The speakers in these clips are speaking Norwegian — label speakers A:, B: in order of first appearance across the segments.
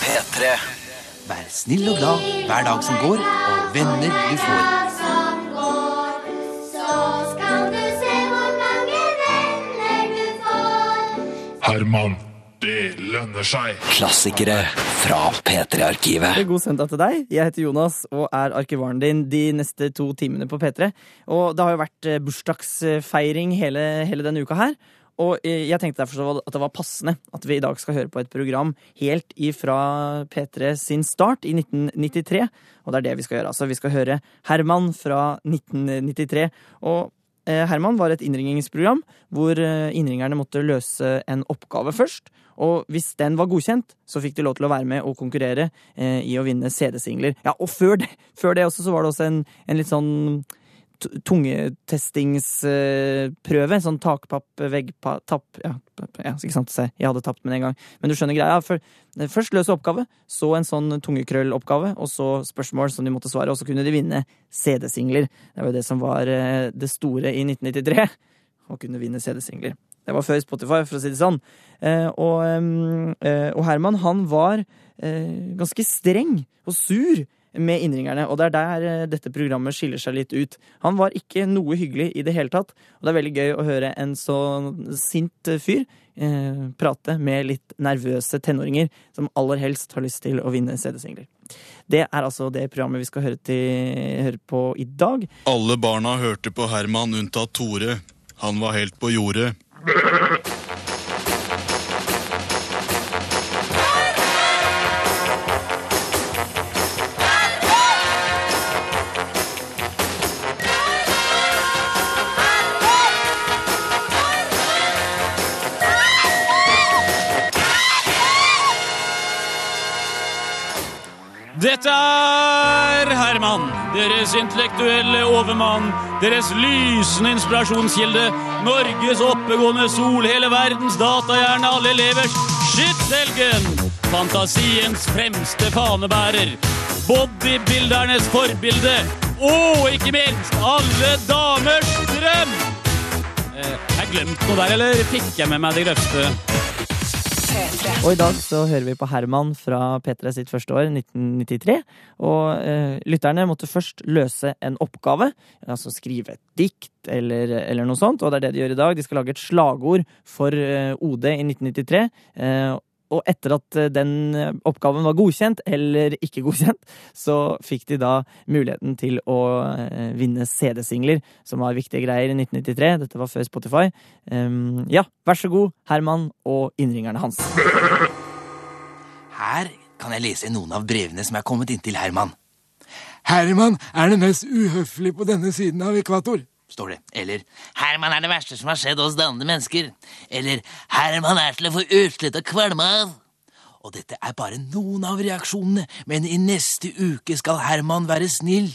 A: P3.
B: Vær snill og glad hver dag som går, og venner du får.
C: Herman, det lønner seg.
A: Klassikere fra P3-arkivet.
D: God søndag til deg. Jeg heter Jonas og er arkivaren din de neste to timene på P3. Og det har jo vært eh, bursdagsfeiring hele, hele denne uka her. Og eh, jeg tenkte derfor så at det var passende at vi i dag skal høre på et program helt ifra P3 sin start i 1993. Og det er det vi skal gjøre. altså. Vi skal høre Herman fra 1993. Og eh, Herman var et innringingsprogram hvor eh, innringerne måtte løse en oppgave først. Og hvis den var godkjent, så fikk de lov til å være med og konkurrere eh, i å vinne CD-singler. Ja, og før det, før det også så var det også en, en litt sånn t- tungetestingsprøve. En sånn takpapp, veggpa... Tapp, ja, p- ja, ikke sant. se, Jeg hadde tapt med det en gang. Men du skjønner greia. Før- Først løse oppgave, så en sånn tungekrølloppgave, og så spørsmål som de måtte svare, og så kunne de vinne CD-singler. Det var jo det som var eh, det store i 1993. Å kunne vinne CD-singler. Det var før Spotify, for å si det sånn. Eh, og, em, eh, og Herman, han var eh, ganske streng og sur med innringerne, og det er der eh, dette programmet skiller seg litt ut. Han var ikke noe hyggelig i det hele tatt, og det er veldig gøy å høre en så sint eh, fyr eh, prate med litt nervøse tenåringer som aller helst har lyst til å vinne CD-singler. Det er altså det programmet vi skal høre, til, høre på i dag.
E: Alle barna hørte på Herman unntatt Tore. Han var helt på jordet.
F: Dette er Herman, deres intellektuelle overmann, deres lysende inspirasjonskilde, Norges oppegående sol, hele verdens datahjerne, alle elevers skyttelgen, fantasiens fremste fanebærer, bodybuildernes forbilde, og ikke minst alle damers drøm! Eh, har jeg glemt noe der, eller fikk jeg med meg det grøvste?
D: Og i dag så hører vi på Herman fra P3 sitt første år, 1993. Og eh, lytterne måtte først løse en oppgave, altså skrive et dikt eller, eller noe sånt. Og det er det de gjør i dag. De skal lage et slagord for eh, OD i 1993. Eh, og etter at eh, den oppgaven var godkjent eller ikke godkjent, så fikk de da muligheten til å eh, vinne CD-singler, som var viktige greier i 1993. Dette var før Spotify. Ehm, ja, vær så god, Herman og innringerne hans.
B: Her kan jeg lese noen av brevene som er kommet inn til Herman. Herman er det mest uhøflige på denne siden av ekvator. Står det. Eller Herman er det verste som har skjedd oss dannede mennesker. Eller Herman er til å få utslett og kvalme av. Og dette er bare noen av reaksjonene, men i neste uke skal Herman være snill.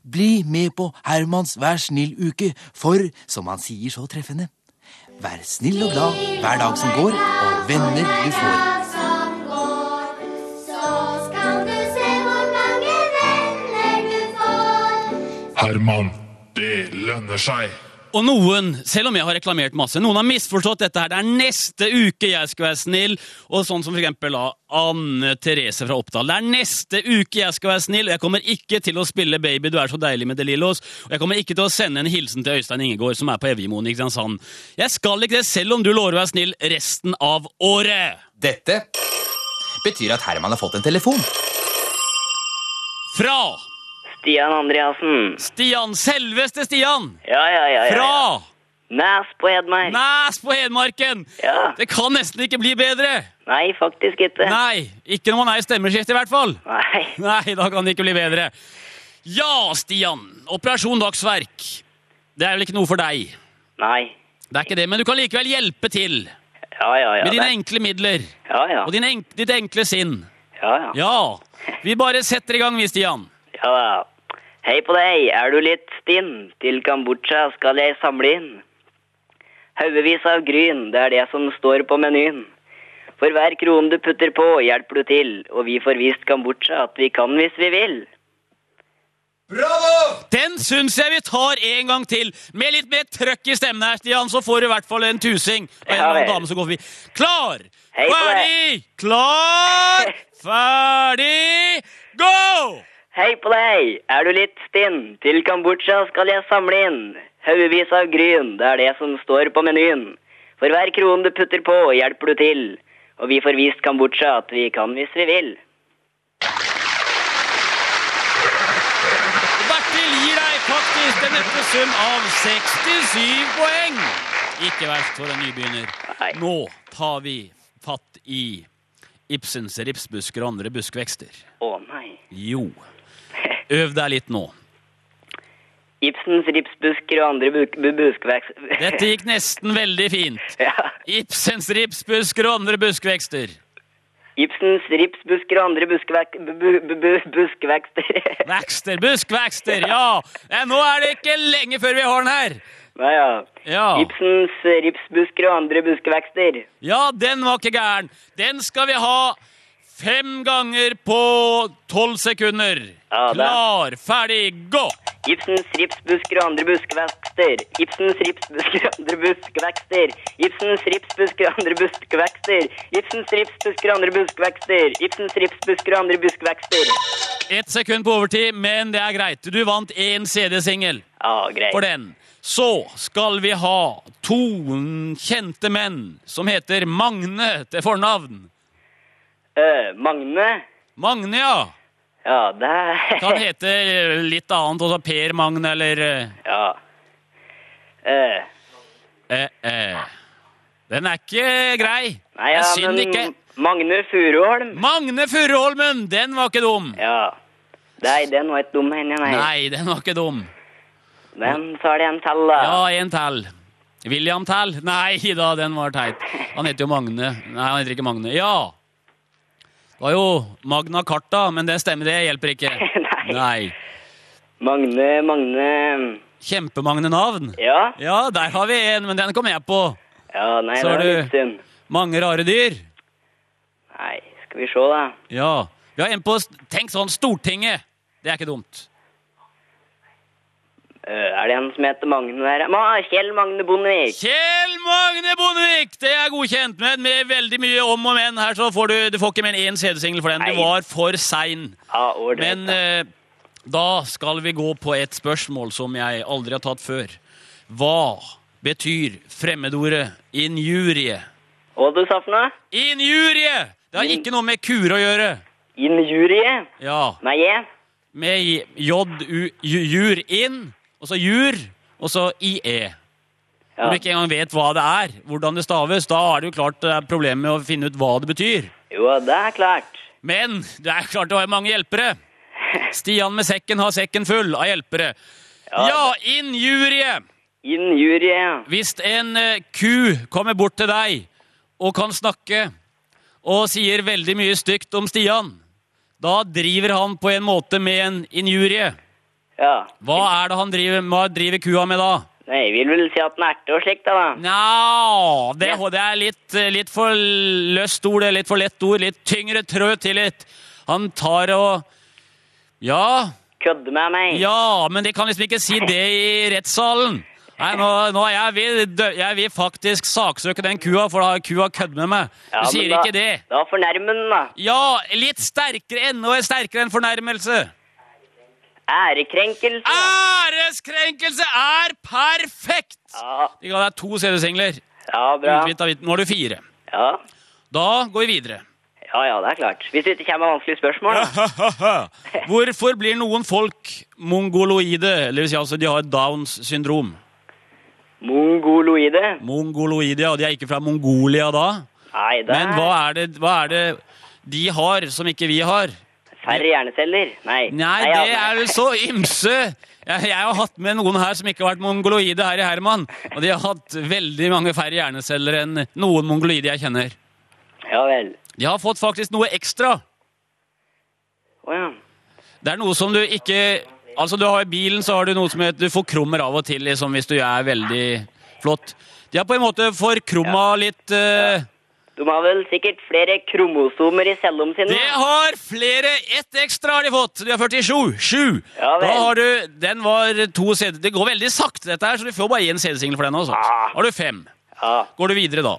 B: Bli med på Hermans Vær snill-uke, for, som han sier så treffende, vær snill og glad hver dag som går, og venner du får.
C: Herman, det lønner seg.
F: Og noen, selv om jeg har reklamert masse, noen har misforstått dette her. Det er neste uke jeg skal være snill, og sånn som for eksempel da, Anne Therese fra Oppdal. Det er neste uke jeg skal være snill, og jeg kommer ikke til å spille Baby, du er så deilig med De Lillos, og jeg kommer ikke til å sende en hilsen til Øystein Ingegård, som er på Evjemoen i Kristiansand. Jeg skal ikke det, selv om du lover å være snill resten av året.
G: Dette betyr at Herman har fått en telefon.
F: Fra
H: Stian Andreassen.
F: Stian, selveste Stian!
H: Ja, ja, ja. ja.
F: Fra
H: Næs på Hedmark.
F: Næs på Hedmarken!
H: Ja.
F: Det kan nesten ikke bli bedre!
H: Nei, faktisk ikke.
F: Nei, ikke når man er i stemmeskift i hvert fall.
H: Nei.
F: Nei, da kan det ikke bli bedre. Ja, Stian. Operasjon Dagsverk. Det er vel ikke noe for deg.
H: Nei.
F: Det er ikke det, Men du kan likevel hjelpe til
H: Ja, ja, ja.
F: med dine
H: det-
F: enkle midler
H: Ja, ja.
F: og din enk ditt enkle sinn.
H: Ja, ja.
F: Ja, vi bare setter i gang, vi, Stian.
H: Ja, da. Hei på deg, er du litt stinn? Til Kambodsja skal jeg samle inn. Haugevis av gryn, det er det som står på menyen. For hver krone du putter på, hjelper du til, og vi får vist Kambodsja at vi kan hvis vi vil.
F: Den syns jeg vi tar en gang til. Med litt mer trøkk i stemmen her, Stian, så får du i hvert fall en tusing. Og en
H: Ja,
F: eller annen
H: vel.
F: dame som går forbi. Klar,
H: Hei på deg.
F: ferdig, klar,
H: Hei på deg, er du litt stinn? Til Kambodsja skal jeg samle inn. Haugevis av gryn, det er det som står på menyen. For hver kron du putter på, hjelper du til. Og vi får vist Kambodsja at vi kan hvis vi vil.
F: Bertil gir deg faktisk den nette sum av 67 poeng. Ikke verst for en nybegynner.
H: Nei.
F: Nå tar vi fatt i Ibsens ripsbusker og andre buskvekster.
H: Å nei.
F: Jo. Øv deg litt nå.
H: Ibsens ripsbusker og andre buk- bu buskveks...
F: Dette gikk nesten veldig fint.
H: ja.
F: Ibsens ripsbusker og andre buskvekster.
H: Ibsens ripsbusker og andre buskvek... Bu bu bu buskvekster.
F: Vekster, buskvekster, ja! Eh, Nå er det ikke lenge før vi har den her.
H: Nei, ja.
F: Ja.
H: Ibsens ripsbusker og andre buskvekster.
F: Ja, den var ikke gæren. Den skal vi ha fem ganger på tolv sekunder.
H: Ja, det-
F: Klar, ferdig, gå!
H: Ibsens ripsbusker og andre buskvekster. Ibsens ripsbusker og andre buskvekster. Ibsens ripsbusker og andre buskvekster. Ibsens ripsbusker og andre buskvekster. Ibsens ripsbusker og andre buskvekster.
F: Ett sekund på overtid, men det er greit. Du vant én CD-singel
H: Ja, greit.
F: for den. Så skal vi ha to kjente menn som heter Magne til fornavn.
H: Øh, Magne?
F: Magne, ja.
H: Ja, det
F: Kan hete litt annet, også Per Magne eller eh,
H: Ja. Øh,
F: eh, eh. Den er ikke grei.
H: nei,
F: Det
H: ja,
F: er synd
H: men
F: ikke.
H: Magne Furuholm?
F: Magne Furuholmen, den var ikke dum.
H: Ja. Nei, den var ikke dum, henne, nei.
F: Nei, den var ikke dum.
H: Men så er det en til, da.
F: Ja, en til. William til. Nei da, den var teit. Han heter jo Magne. Nei, han heter ikke Magne. Ja! Det var jo Magna Carta, men det stemmer, det hjelper ikke.
H: Nei.
F: Nei.
H: Magne, Magne
F: Kjempemagne navn.
H: Ja?
F: Ja, der har vi en, men den kom jeg på.
H: Ja, nei, det
F: Så har
H: var
F: du-
H: litt synd.
F: Mange rare dyr.
H: Nei, skal vi se, da.
F: Ja. Vi har en på st- Tenk sånn, Stortinget! Det er ikke dumt.
H: Øh, er det en som heter Magne der? Ma, Kjell Magne Bondevik.
F: Kjell Magne Bondevik! Det er godkjent, men med veldig mye om og men her, så får du, du får ikke mer enn én CD-singel for den.
H: Nei.
F: Du var for sein.
H: Ja, ålreit.
F: Men
H: da.
F: eh, da skal vi gå på et spørsmål som jeg aldri har tatt før. Hva betyr fremmedordet injurie?
H: Hva du sa for noe?
F: Injurie! Det har ikke noe med kur å gjøre.
H: Injurie?
F: Ja,
H: Nei, jeg.
F: med j- j-u, ju- jur inn, og så jur, og så i-e.
H: Ja.
F: Når du ikke engang vet hva det er, hvordan det staves, da er det jo klart det er problemet med å finne ut hva det betyr.
H: Jo, det er klart.
F: Men det er klart det har mange hjelpere. Stian med sekken har sekken full av hjelpere. Ja, injurie!
H: Injurie.
F: Hvis en eh, ku kommer bort til deg og kan snakke og sier veldig mye stygt om Stian, da driver han på en måte med en injurie.
H: Ja.
F: Hva er det han driver, hva driver kua med da?
H: Nei, vil vel si at den er erte og slikt, da. da.
F: Nja, det, det er litt, eh, litt for løst ord, det er litt for lett ord, litt tyngre trø til litt. Han tar og Ja,
H: Kødde med meg.
F: Ja, men de kan liksom ikke si det i rettssalen. Nei, nå, nå er jeg, vil, dø- jeg vil faktisk saksøke den kua, for da har kua kødd med meg. Du
H: Ja, men
F: sier
H: da,
F: ikke det.
H: Da fornærmer den, da.
F: Ja, litt sterkere, enda sterkere enn fornærmelse.
H: Ærekrenkelse.
F: Æreskrenkelse er perfekt!
H: Ja,
F: De ga deg to CD-singler.
H: ja, bra.
F: Utvitt av vitt. Nå har du fire.
H: Ja.
F: Da går vi videre.
H: ja, ja, det er klart. Hvis det ikke kommer vanskelige spørsmål, da.
F: Hvorfor blir noen folk mongoloide? Det vil si altså, de har Downs syndrom.
H: Mongoloide.
F: Mongoloide, ja. De er ikke fra Mongolia da.
H: Nei, det
F: Men hva
H: er
F: er, det, hva er det de har som ikke vi har?
H: færre hjerneceller. Nei.
F: Nei,
H: ja,
F: det er vel så ymse! Jeg, jeg har hatt med noen her som ikke har vært mongoloide her i Herman. Og de har hatt veldig mange færre hjerneceller enn noen mongoloide jeg kjenner.
H: Ja vel.
F: De har fått faktisk noe ekstra.
H: Å ja.
F: Det er noe som du ikke Altså, du har I bilen så har du noe som heter du forkrummer av og til liksom, hvis du er veldig flott. De har på en måte forkrumma litt eh,
H: De har vel sikkert flere kromosomer i cellene sine.
F: Det har flere. Ett ekstra har de fått. De har 47. Sju.
H: Ja vel.
F: da har du Den var to CD. Det går veldig sakte, dette her, så du får bare én CD-singel for den. Altså.
H: Ah.
F: Har du fem.
H: Ja,
F: Går du videre, da?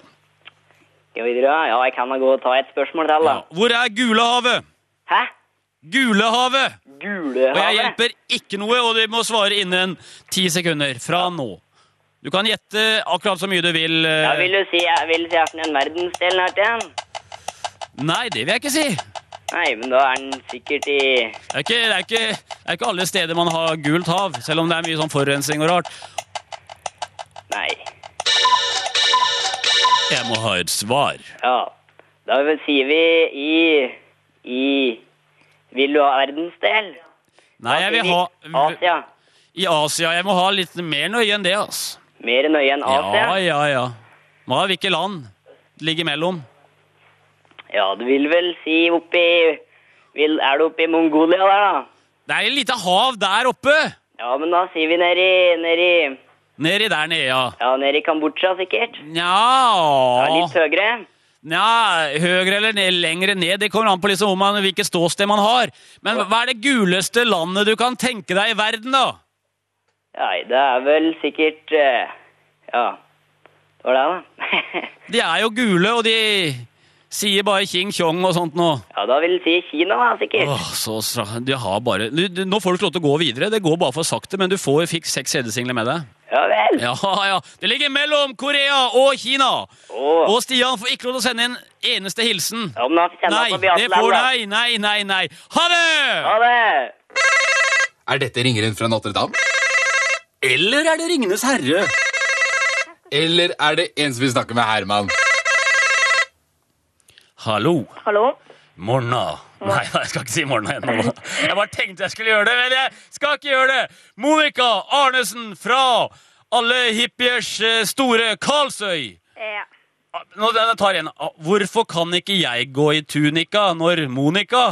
H: skal vi videre? ja, jeg kan da gå og ta et spørsmål til, da.
F: Hvor er Gulehavet?
H: Hæ?
F: Gulehavet!
H: gule
F: Og jeg hjelper ikke noe, og de må svare innen ti sekunder fra nå. Du kan gjette akkurat så mye du vil. eh,
H: Ja, vil du si, jeg vil si at den er en verdensdel her til den?
F: Nei, det vil jeg ikke si. Det
H: Nei, men da er den sikkert i
F: er ikke, det er ikke, det er ikke alle steder man har gult hav, selv om det er mye sånn forurensning og rart.
H: Nei.
F: Jeg må ha et svar.
H: Ja. Da sier vi i I Vil du ha verdensdel?
F: Nei, jeg vil ha
H: Altså, Asia.
F: I Asia. Jeg må ha litt mer nøye enn det, altså.
H: Mer nøye enn Asia?
F: Ja, ja, ja. Hva, hvilke land ligger mellom?
H: Ja, du vil vel si oppi vil, Er du oppi Mongolia der, da?
F: Det er et lite hav der oppe!
H: Ja, men da sier vi nedi nedi
F: Nedi der nede, ja.
H: Ja, nedi Kambodsja, sikkert. Ja,
F: Nja
H: litt høyere.
F: Nja, høyere eller ned, lengre ned, det kommer an på liksom hvor man, hvilket ståsted man har. Men hva er det guleste landet du kan tenke deg i verden, da?
H: Nei, det er vel sikkert eh, Ja. Det var det, da.
F: De er jo gule, og de sier bare King Chong og sånt nå.
H: ja, da vil du si Kina, da, sikkert.
F: Åh, så stra... Du har bare... Du, du, nå får du ikke lov til å gå videre, det går bare for sakte, men du får, fikk seks CD-singler med deg.
H: Ja vel.
F: Ja, ja. Det ligger mellom Korea og Kina.
H: Åh.
F: Og Stian får ikke lov til å sende en eneste hilsen.
H: Ja, men da kjenner
F: Nei,
H: jeg på
F: det
H: Beate
F: får
H: Lauer, da.
F: nei, nei, nei, nei. Ha det!
H: Ha det!
G: Er dette ringeren fra Notre-Dame? Eller er det Ringenes herre? Eller er det en som vil snakke med Herman?
F: Hallo.
I: Hallo?
F: Morna. Nei, nei, jeg skal ikke si morna ennå. Jeg bare tenkte jeg skulle gjøre det, men jeg skal ikke gjøre det. Monica Arnesen fra alle hippiers eh, store Karlsøy.
I: Ja.
F: Ah, Nå jeg tar jeg en. Ah, Hvorfor kan ikke jeg gå i tunika når Monica?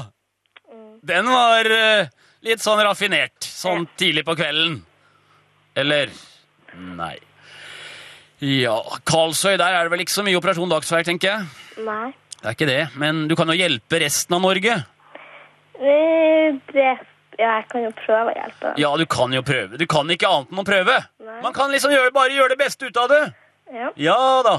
F: Den var eh, litt sånn raffinert, sånn tidlig på kvelden. Eller Nei. Ja, Karlsøy, der er det vel ikke så mye Operasjon Dagsverk, tenker jeg.
I: Nei.
F: Det er ikke det, men du kan jo hjelpe resten av Norge.
I: Eh, Det Ja, jeg kan jo prøve å hjelpe dem.
F: Ja, du kan jo prøve. Du kan ikke annet enn å prøve.
I: Nei.
F: Man kan liksom gjøre, bare gjøre det beste ut av det.
I: Ja.
F: Ja da.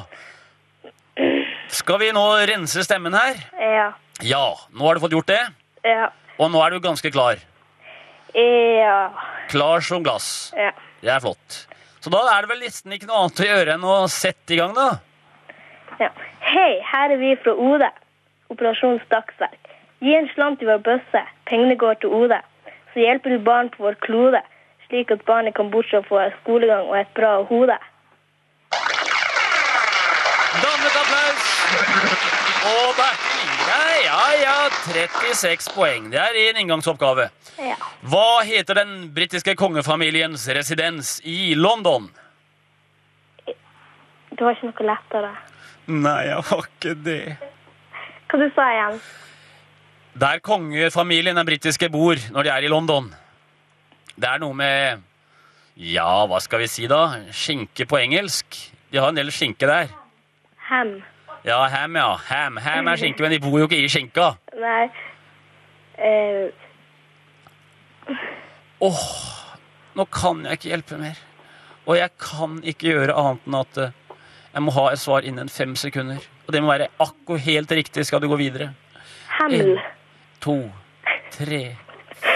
F: Skal vi nå rense stemmen her?
I: Ja.
F: Ja, nå har du fått gjort det,
I: Ja.
F: og nå er du ganske klar.
I: Ja.
F: Klar som glass.
I: Ja.
F: Det er flott. Så da er det vel nesten ikke noe annet å gjøre enn å sette i gang, da.
I: ja. Hei, her er vi fra Ode. Operasjon Dagsverk. Gi en slant i vår bøsse. Pengene går til Ode. Så hjelper du barn på vår klode, slik at barn i Kambodsja får skolegang og et bra hode.
F: Dannet applaus! Og Bertil Ingeir, ja ja, 36 poeng. Det er en inngangsoppgave.
I: Ja.
F: Hva heter den britiske kongefamiliens residens i London?
I: Det var ikke noe lettere.
F: Nei, jeg har ikke det.
I: Hva du sa igjen?
F: Der kongefamilien, den britiske, bor når de er i London. Det er noe med Ja, hva skal vi si, da? Skinke på engelsk. De har en del skinke der.
I: Hen.
F: Ja, ham, ja. Ham ham er skinke, men de bor jo ikke i skinka.
I: Nei. Eh,
F: Nå kan jeg ikke hjelpe mer. Og jeg kan ikke gjøre annet enn at eh, jeg må ha et svar innen fem sekunder. Og det må være akkurat helt riktig skal du gå videre.
I: Hemmel.
F: To, tre,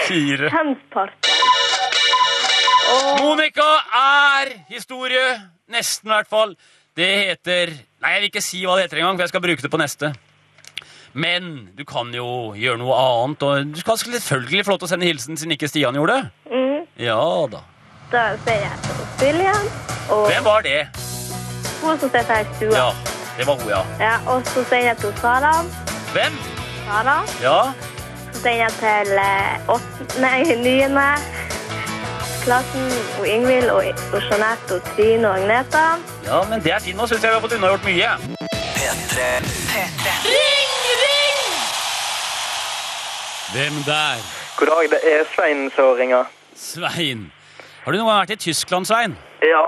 F: fire
I: Hemspark.
F: Monica er historie. Nesten, i hvert fall. Det heter Nei, jeg vil ikke si hva det heter engang, for jeg skal bruke det på neste. Men du kan jo gjøre noe annet, og du skal selvfølgelig få lov til å sende hilsen siden ikke Stian gjorde det. Ja da.
I: mm, Da sier jeg til William og
F: Hvem var det?
I: hun som sitter her i stua.
F: Ja, det var hun, ja.
I: Ja, og så sier jeg til Sara.
F: Hvem?
I: Sara.
F: Ja.
I: Så sier jeg til eh, åttende, nei, niende klassen og Ingvild og, og Jeanette og Trine og Agneta.
F: Ja, men det er fint. Nå syns jeg vi har fått unnagjort mye.
A: P3.
F: Hvem der?
J: God dag, det er Svein som ringer.
F: Svein. Har du noen gang vært i Tyskland, Svein?
J: Ja,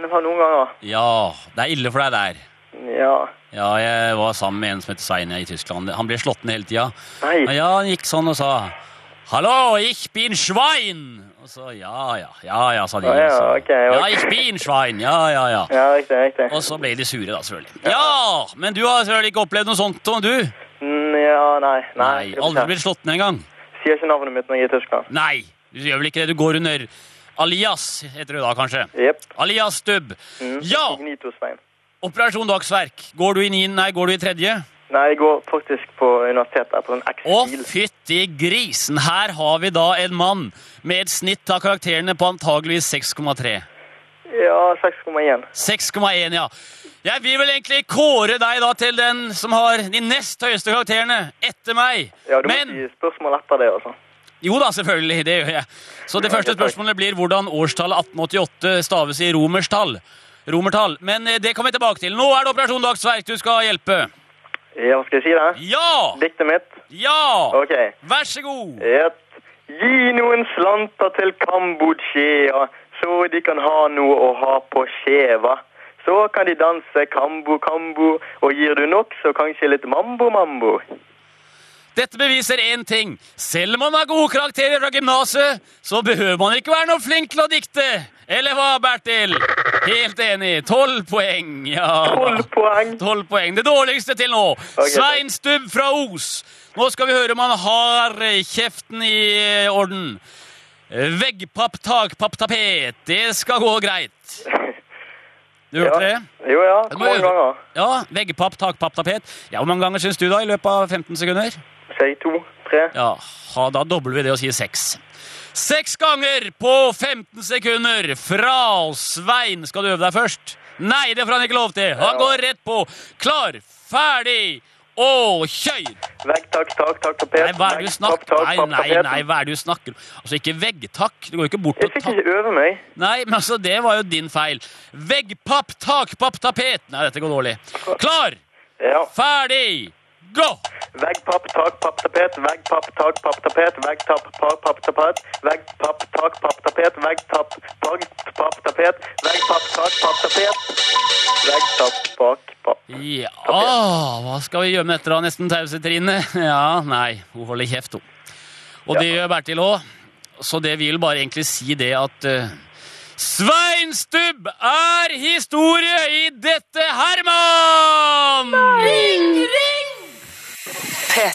J: det var noen ganger.
F: Ja, det er ille for deg der.
J: Ja.
F: Ja, jeg var sammen med en som heter Svein i Tyskland. Han ble slått ned hele tida.
J: Nei.
F: Ja, han gikk sånn og sa Hallo, ich bin Schwein! Og så Altså, ja, ja, ja, ja, sa de.
J: Å, ja,
F: også.
J: ok, ok.
F: ja, ich bin Schwein, ja, ja, ja.
J: Ja, riktig, riktig.
F: Og så ble de sure, da, selvfølgelig. Ja, men du har selvfølgelig ikke opplevd noe sånt, og du?
J: Mm, Ja, nei. Nei,
F: aldri blitt slått ned engang.
J: Sier sier ikke navnet mitt når jeg er i Tyskland.
F: Nei, du gjør vel ikke det. Du går under Alias, heter du da kanskje?
J: Jepp.
F: Alias Stubb. Ja!
J: Mm. Ignitosvein.
F: Operasjon Dagsverk. Går du i niende, nei, går du i tredje?
J: Nei, jeg går faktisk på universitetet på en
F: Å, fytti grisen! Her har vi da en mann med et snitt av karakterene på antageligvis 6,3.
J: Ja, 6,1.
F: 6,1, ja. Jeg vil vel egentlig kåre deg da til den som har de nest høyeste karakterene etter meg.
J: Ja, du må si spørsmål etter det, altså.
F: Jo da, selvfølgelig, det gjør jeg. Så det første spørsmålet blir hvordan årstallet 1888 staves i romerstall. Romertall. Men eh, det kommer jeg tilbake til. Nå er det Operasjon Dagsverk du skal hjelpe.
J: Ja, hva skal jeg si da?
F: Ja!
J: Diktet mitt?
F: Ja!
J: Ok.
F: Vær så god.
J: Et. Gi noen slanter til Kambodsja, så de kan ha noe å ha på skjeva. Så kan de danse kambo-kambo, og gir du nok, så kanskje litt mambo-mambo.
F: Dette beviser én ting. Selv om man har gode karakterer fra gymnaset, så behøver man ikke være noe flink til å dikte. Eller hva, Bertil? Helt enig. Tolv poeng. Ja.
J: Tolv poeng.
F: Tolv poeng. Det dårligste til nå.
J: takk.
F: Svein Stubb fra Os. Nå skal vi høre om han har kjeften i orden. Veggpapp, takpapp, tapet. Det skal gå greit. Du hørte det?
J: Jo ja,
F: Du
J: hvor
F: må
J: mange
F: øve.
J: ganger?
F: Ja, Veggpapp, takpapp, tapet. Ja, Hvor mange ganger syns du da i løpet av 15 sekunder?
J: Si to, tre.
F: Ja, ha, da dobler vi det og sier seks. Seks ganger på 15 sekunder fra Svein. Skal du øve deg først? Nei, det får han ikke lov til. Han går rett på. Klar, ferdig og kjør!
J: Vegg, takk, takk, takk, tapet.
F: Nei, hva er
J: Vegg,
F: det du
J: takk,
F: snakker
J: takk,
F: Nei,
J: takk,
F: nei,
J: tapet.
F: nei, hva er det du snakker om? Altså, ikke veggtakk. Du går jo ikke bort
J: Jeg
F: og
J: fikk
F: takk.
J: ikke øve meg.
F: Nei, men altså, det var jo din feil. Veggpapp, takpapp, tapet. Nei, dette går dårlig. Klar,
J: Ja.
F: ferdig, gå!
J: Vegg, papp, tak, papp, tapet. Vegg, papp, tak, papp, tapet. Vegg, tapp, papp, papp, tapet. Vegg, papp, tak, papp, tapet. Vegg, tapp, pag, papp, tapet. Vegg, papp, tak, papp, tapet. Vegg, tapp, pak, papp.
F: Ja, hva skal vi gjøre med dette da? Nesten tause, Trine. Ja, nei, hun holder kjeft, hun. Og det gjør Bertil òg. Så det vil bare egentlig si det at eh, Svein Stubb er historie i dette Herman!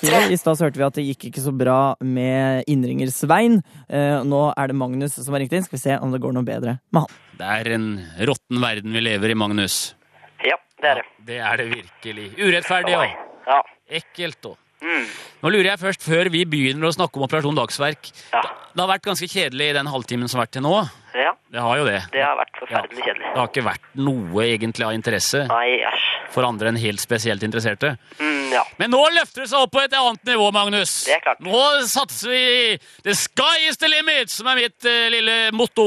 D: Jo, I stad så hørte vi at det gikk ikke så bra med innringer Svein. Eh, nå er det Magnus som har ringt inn. Skal vi se om det går noe bedre med han.
F: Det er en råtten verden vi lever i, Magnus.
K: Ja, det er det.
F: Det er det virkelig. Urettferdig òg.
K: Ja.
F: Ekkelt òg.
K: Mm.
F: Nå lurer jeg først, før vi begynner å snakke om Operasjon Dagsverk Det har vært ganske kjedelig i den halvtimen som har vært til nå.
K: ja.
F: Det har jo det.
K: Det har vært forferdelig kjedelig.
F: Det har ikke vært noe egentlig av interesse
K: Nei, æsj.
F: for andre enn helt spesielt interesserte.
K: Mm, ja.
F: Men nå løfter det seg opp på et annet nivå, Magnus.
K: Det er klart.
F: Nå satser vi i The sky is the limit, som er mitt eh, lille motto.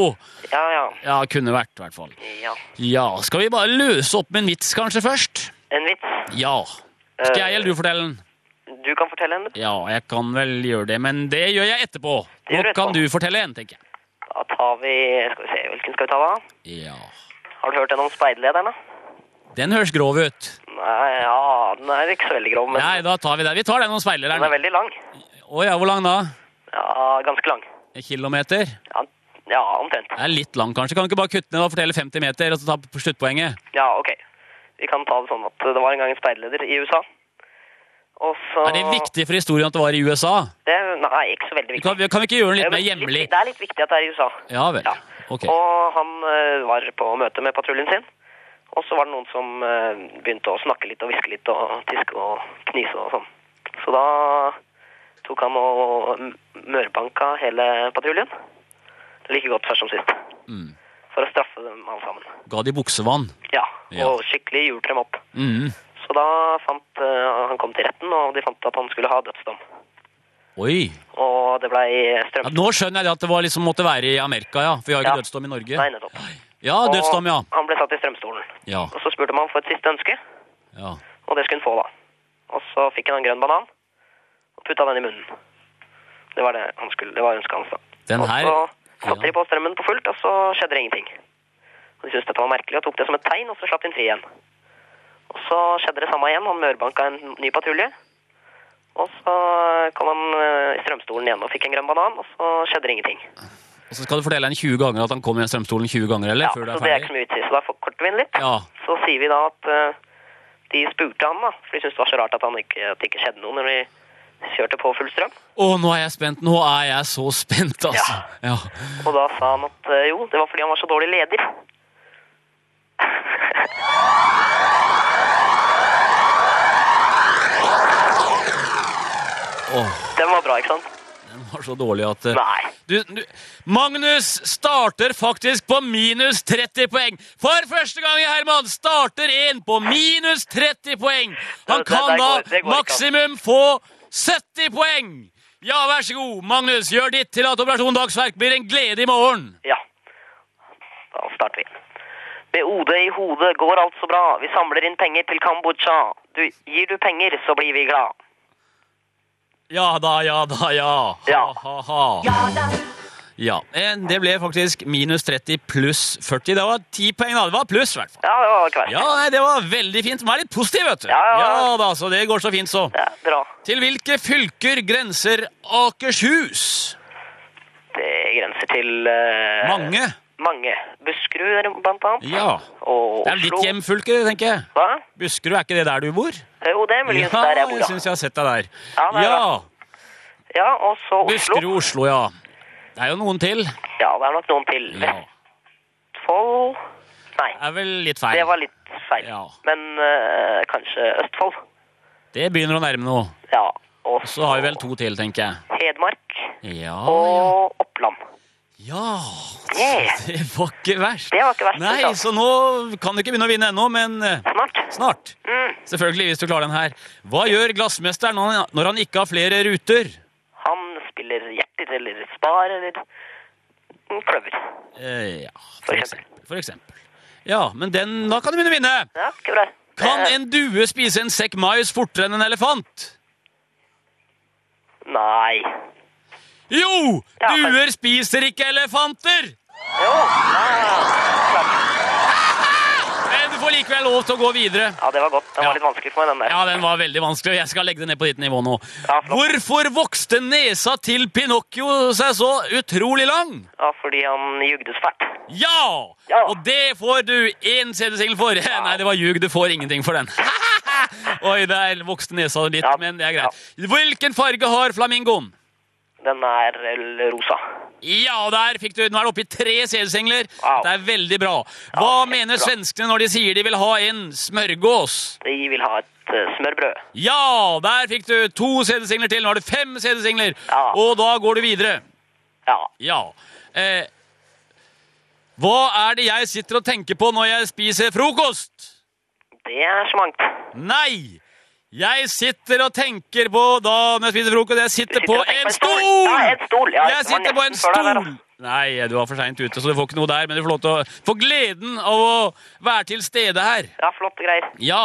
K: Ja, ja.
F: Ja, kunne vært, i hvert fall.
K: ja.
F: Ja, skal vi bare løse opp med en vits kanskje først?
K: En vits.
F: Ja. Skal jeg eller du fortelle den?
K: Du kan fortelle en.
F: Ja, jeg kan vel gjøre det, men det gjør jeg etterpå.
K: Det gjør
F: Nå
K: du etterpå.
F: kan du fortelle en, tenker jeg.
K: Da tar vi Skal vi se, hvilken skal vi ta, da?
F: Ja.
K: Har du hørt den om speiderlederne?
F: Den høres grov ut.
K: Nei, ja, den er ikke så veldig grov, men
F: Nei, da tar vi den. Vi tar den om
K: den er
F: speilereren.
K: veldig lang.
F: Å ja, hvor lang da?
K: Ja, ganske lang.
F: En kilometer?
K: Ja, omtrent.
F: Det er litt lang, kanskje. Kan du ikke bare kutte ned og fortelle 50 meter, og så ta på sluttpoenget?
K: Ja, ok. Vi kan ta det sånn at det var en gang en speiderleder i USA. Og så
F: Er det viktig for historien at det var i USA?
K: Det er- nei, ikke så veldig viktig.
F: Kan vi, kan vi ikke gjøre den
K: Ja,
F: litt
K: men
F: mer hjemlig?
K: Det er litt viktig at det er i USA.
F: Ja vel. Ok.
K: Og han eh, var på møte med patruljen sin. Og så var det noen som eh, begynte å snakke litt og hviske litt og tiske og knise og sånn. Så da tok han og m- mørbanka hele patruljen. Like godt først som sist.
F: Mm.
K: For å straffe dem alle sammen.
F: Ga de buksevann?
K: Ja,
F: Ja.
K: og skikkelig hjulte dem opp.
F: Mm.
K: Så da fant eh, han kom til retten, og de fant at han skulle ha dødsdom.
F: Oi.
K: Og det blei
F: Ja,
K: strøm...
F: nå skjønner jeg det at det var liksom måtte være i Amerika, ja. For vi har jo ikke
K: Ja.
F: dødsdom i Norge.
K: Nei, nettopp.
F: Ja, dødsdom, ja.
K: Og han ble satt i strømstolen.
F: Ja.
K: Og så spurte man for et siste ønske,
F: ja.
K: og det skulle han få, da. Og så fikk han en grønn banan og putta den i munnen. Det var det han skulle, det var ønsket hans, da.
F: Den
K: og
F: her
K: så satte de på strømmen på fullt, og så skjedde det ingenting. Og De syntes dette var merkelig og tok det som et tegn, og så slapp de ham fri igjen. Og så skjedde det samme igjen. Han mørbanka en ny patrulje. Og så kom han eh, i strømstolen igjen og fikk en grønn banan, og så skjedde det ingenting.
F: Og så skal du fortelle henne 20 ganger at han kom i den strømstolen 20 ganger, eller? Før det
K: Så
F: er
K: det er ikke
F: ferdig?
K: så mye vits i, så da forkorter vi den litt.
F: Ja.
K: Så sier vi da at eh, de spurte han, da, for de syntes det var så rart at, han ikke, at det ikke skjedde noe når de kjørte på full strøm.
F: Å, nå er jeg spent. Nå er jeg så spent, altså. Ja.
K: Og da sa han at eh, jo, det var fordi han var så dårlig leder.
F: Åh,
K: Den var bra, ikke sant?
F: den var så dårlig at eh, Nei. Du, du, Magnus starter faktisk på minus 30 poeng. For første gang i Herman starter en på minus 30 poeng. Han
K: det-
F: kan
K: det går-
F: da
K: det går ikke an.
F: maksimum få 70 poeng. Ja, vær så god, Magnus. Gjør ditt til at Operasjon Dagsverk blir en glede i morgen.
K: Ja. Da starter vi. Med OD i hodet går alt så bra. Vi samler inn penger til Kambodsja. Du, gir du penger, så blir vi glad.
F: Ja da, ja da, ja. Ha, ha, ha. Ja eh, Det ble faktisk minus 30 pluss 40. Det var 10 poeng, da. Det var pluss, i hvert fall.
K: Ja, det var ikke verst.
F: Ja, nei, det var veldig fint. Man er litt positiv, vet du. da, så det går så fint, så.
K: bra.
F: Til hvilke fylker grenser Akershus?
K: Det grenser til eh,
F: Mange.
K: Mange. Buskerud, er det blant annet.
F: Ja.
K: Og
F: Det er
K: Oslo.
F: ditt hjemfylke, tenker jeg.
K: Hva?
F: Buskerud, er ikke det der du bor?
K: Jo, Eh, det er muligens der jeg bor,
F: jeg
K: da.
F: syns jeg har sett deg der.
K: Ja, det er Ja, og så Oslo.
F: Buskerud, Oslo, ja. Det er jo noen til.
K: Ja, det er nok noen til. Vestfold Nei.
F: Det er vel litt feil.
K: Det var litt feil. Men eh, kanskje Østfold.
F: Det begynner å nærme noe.
K: Ja. Og
F: så har vi vel to til, tenker jeg.
K: Hedmark
F: Ja,
K: og Oppland.
F: Ja!
K: Yeah.
F: Det var ikke verst.
K: Det var ikke verst.
F: Nei,
K: altså.
F: så nå kan du ikke begynne å vinne ennå, men eh,
K: Snart. Mm.
F: Selvfølgelig, hvis du klarer den her. Hva gjør glassmesteren når han- når han ikke har flere ruter?
K: Han spiller hjertet eller spar eller kløver.
F: Eh, ja, for eksempel. For eksempel. Ja, men den, da kan du begynne å vinne!
K: Ja, ikke bra. Eh.
F: Kan en due spise en sekk mais fortere enn en elefant?
K: Nei.
F: Jo! Duer spiser ikke elefanter! Men du får likevel lov til å gå videre.
K: Ja, det var godt. Den var litt vanskelig for meg, den der.
F: Ja, den var veldig vanskelig, og jeg skal legge det ned på ditt nivå nå. Hvorfor vokste nesa til Pinocchio seg så utrolig lang?
K: Ja, fordi han jugde så fælt.
F: Ja! Og det får du én CD-singel for. Nei, det var ljug. Du får ingenting for den. Oi, der vokste nesa litt, men det er greit. Hvilken farge har flamingoen?
K: Den er l- rosa.
F: Ja, der fikk du Nå er det oppe i tre CD-singler. Det er veldig bra. Hva mener svenskene når de sier de vil ha en smørgås?
K: De vil ha et eh, smørbrød.
F: Ja, der fikk du to CD-singler til. Nå har du fem CD-singler. Og da går du videre.
K: Ja.
F: Eh, hva er det jeg sitter og tenker på når jeg spiser frokost?
K: Det er så mangt.
F: Nei! Jeg sitter og tenker på da når jeg spiser frokost Jeg sitter, på
K: og tenker på
F: en
K: en
F: stol!
K: stol! Ja, en stol, ja, det
F: jeg
K: var
F: sitter på en
K: nesten før deg der,
F: stol! Nei, du var for seint ute, så du får ikke noe der. Men du får lov til å få gleden av å være til stede her.
K: Ja, flotte greier.
F: Ja.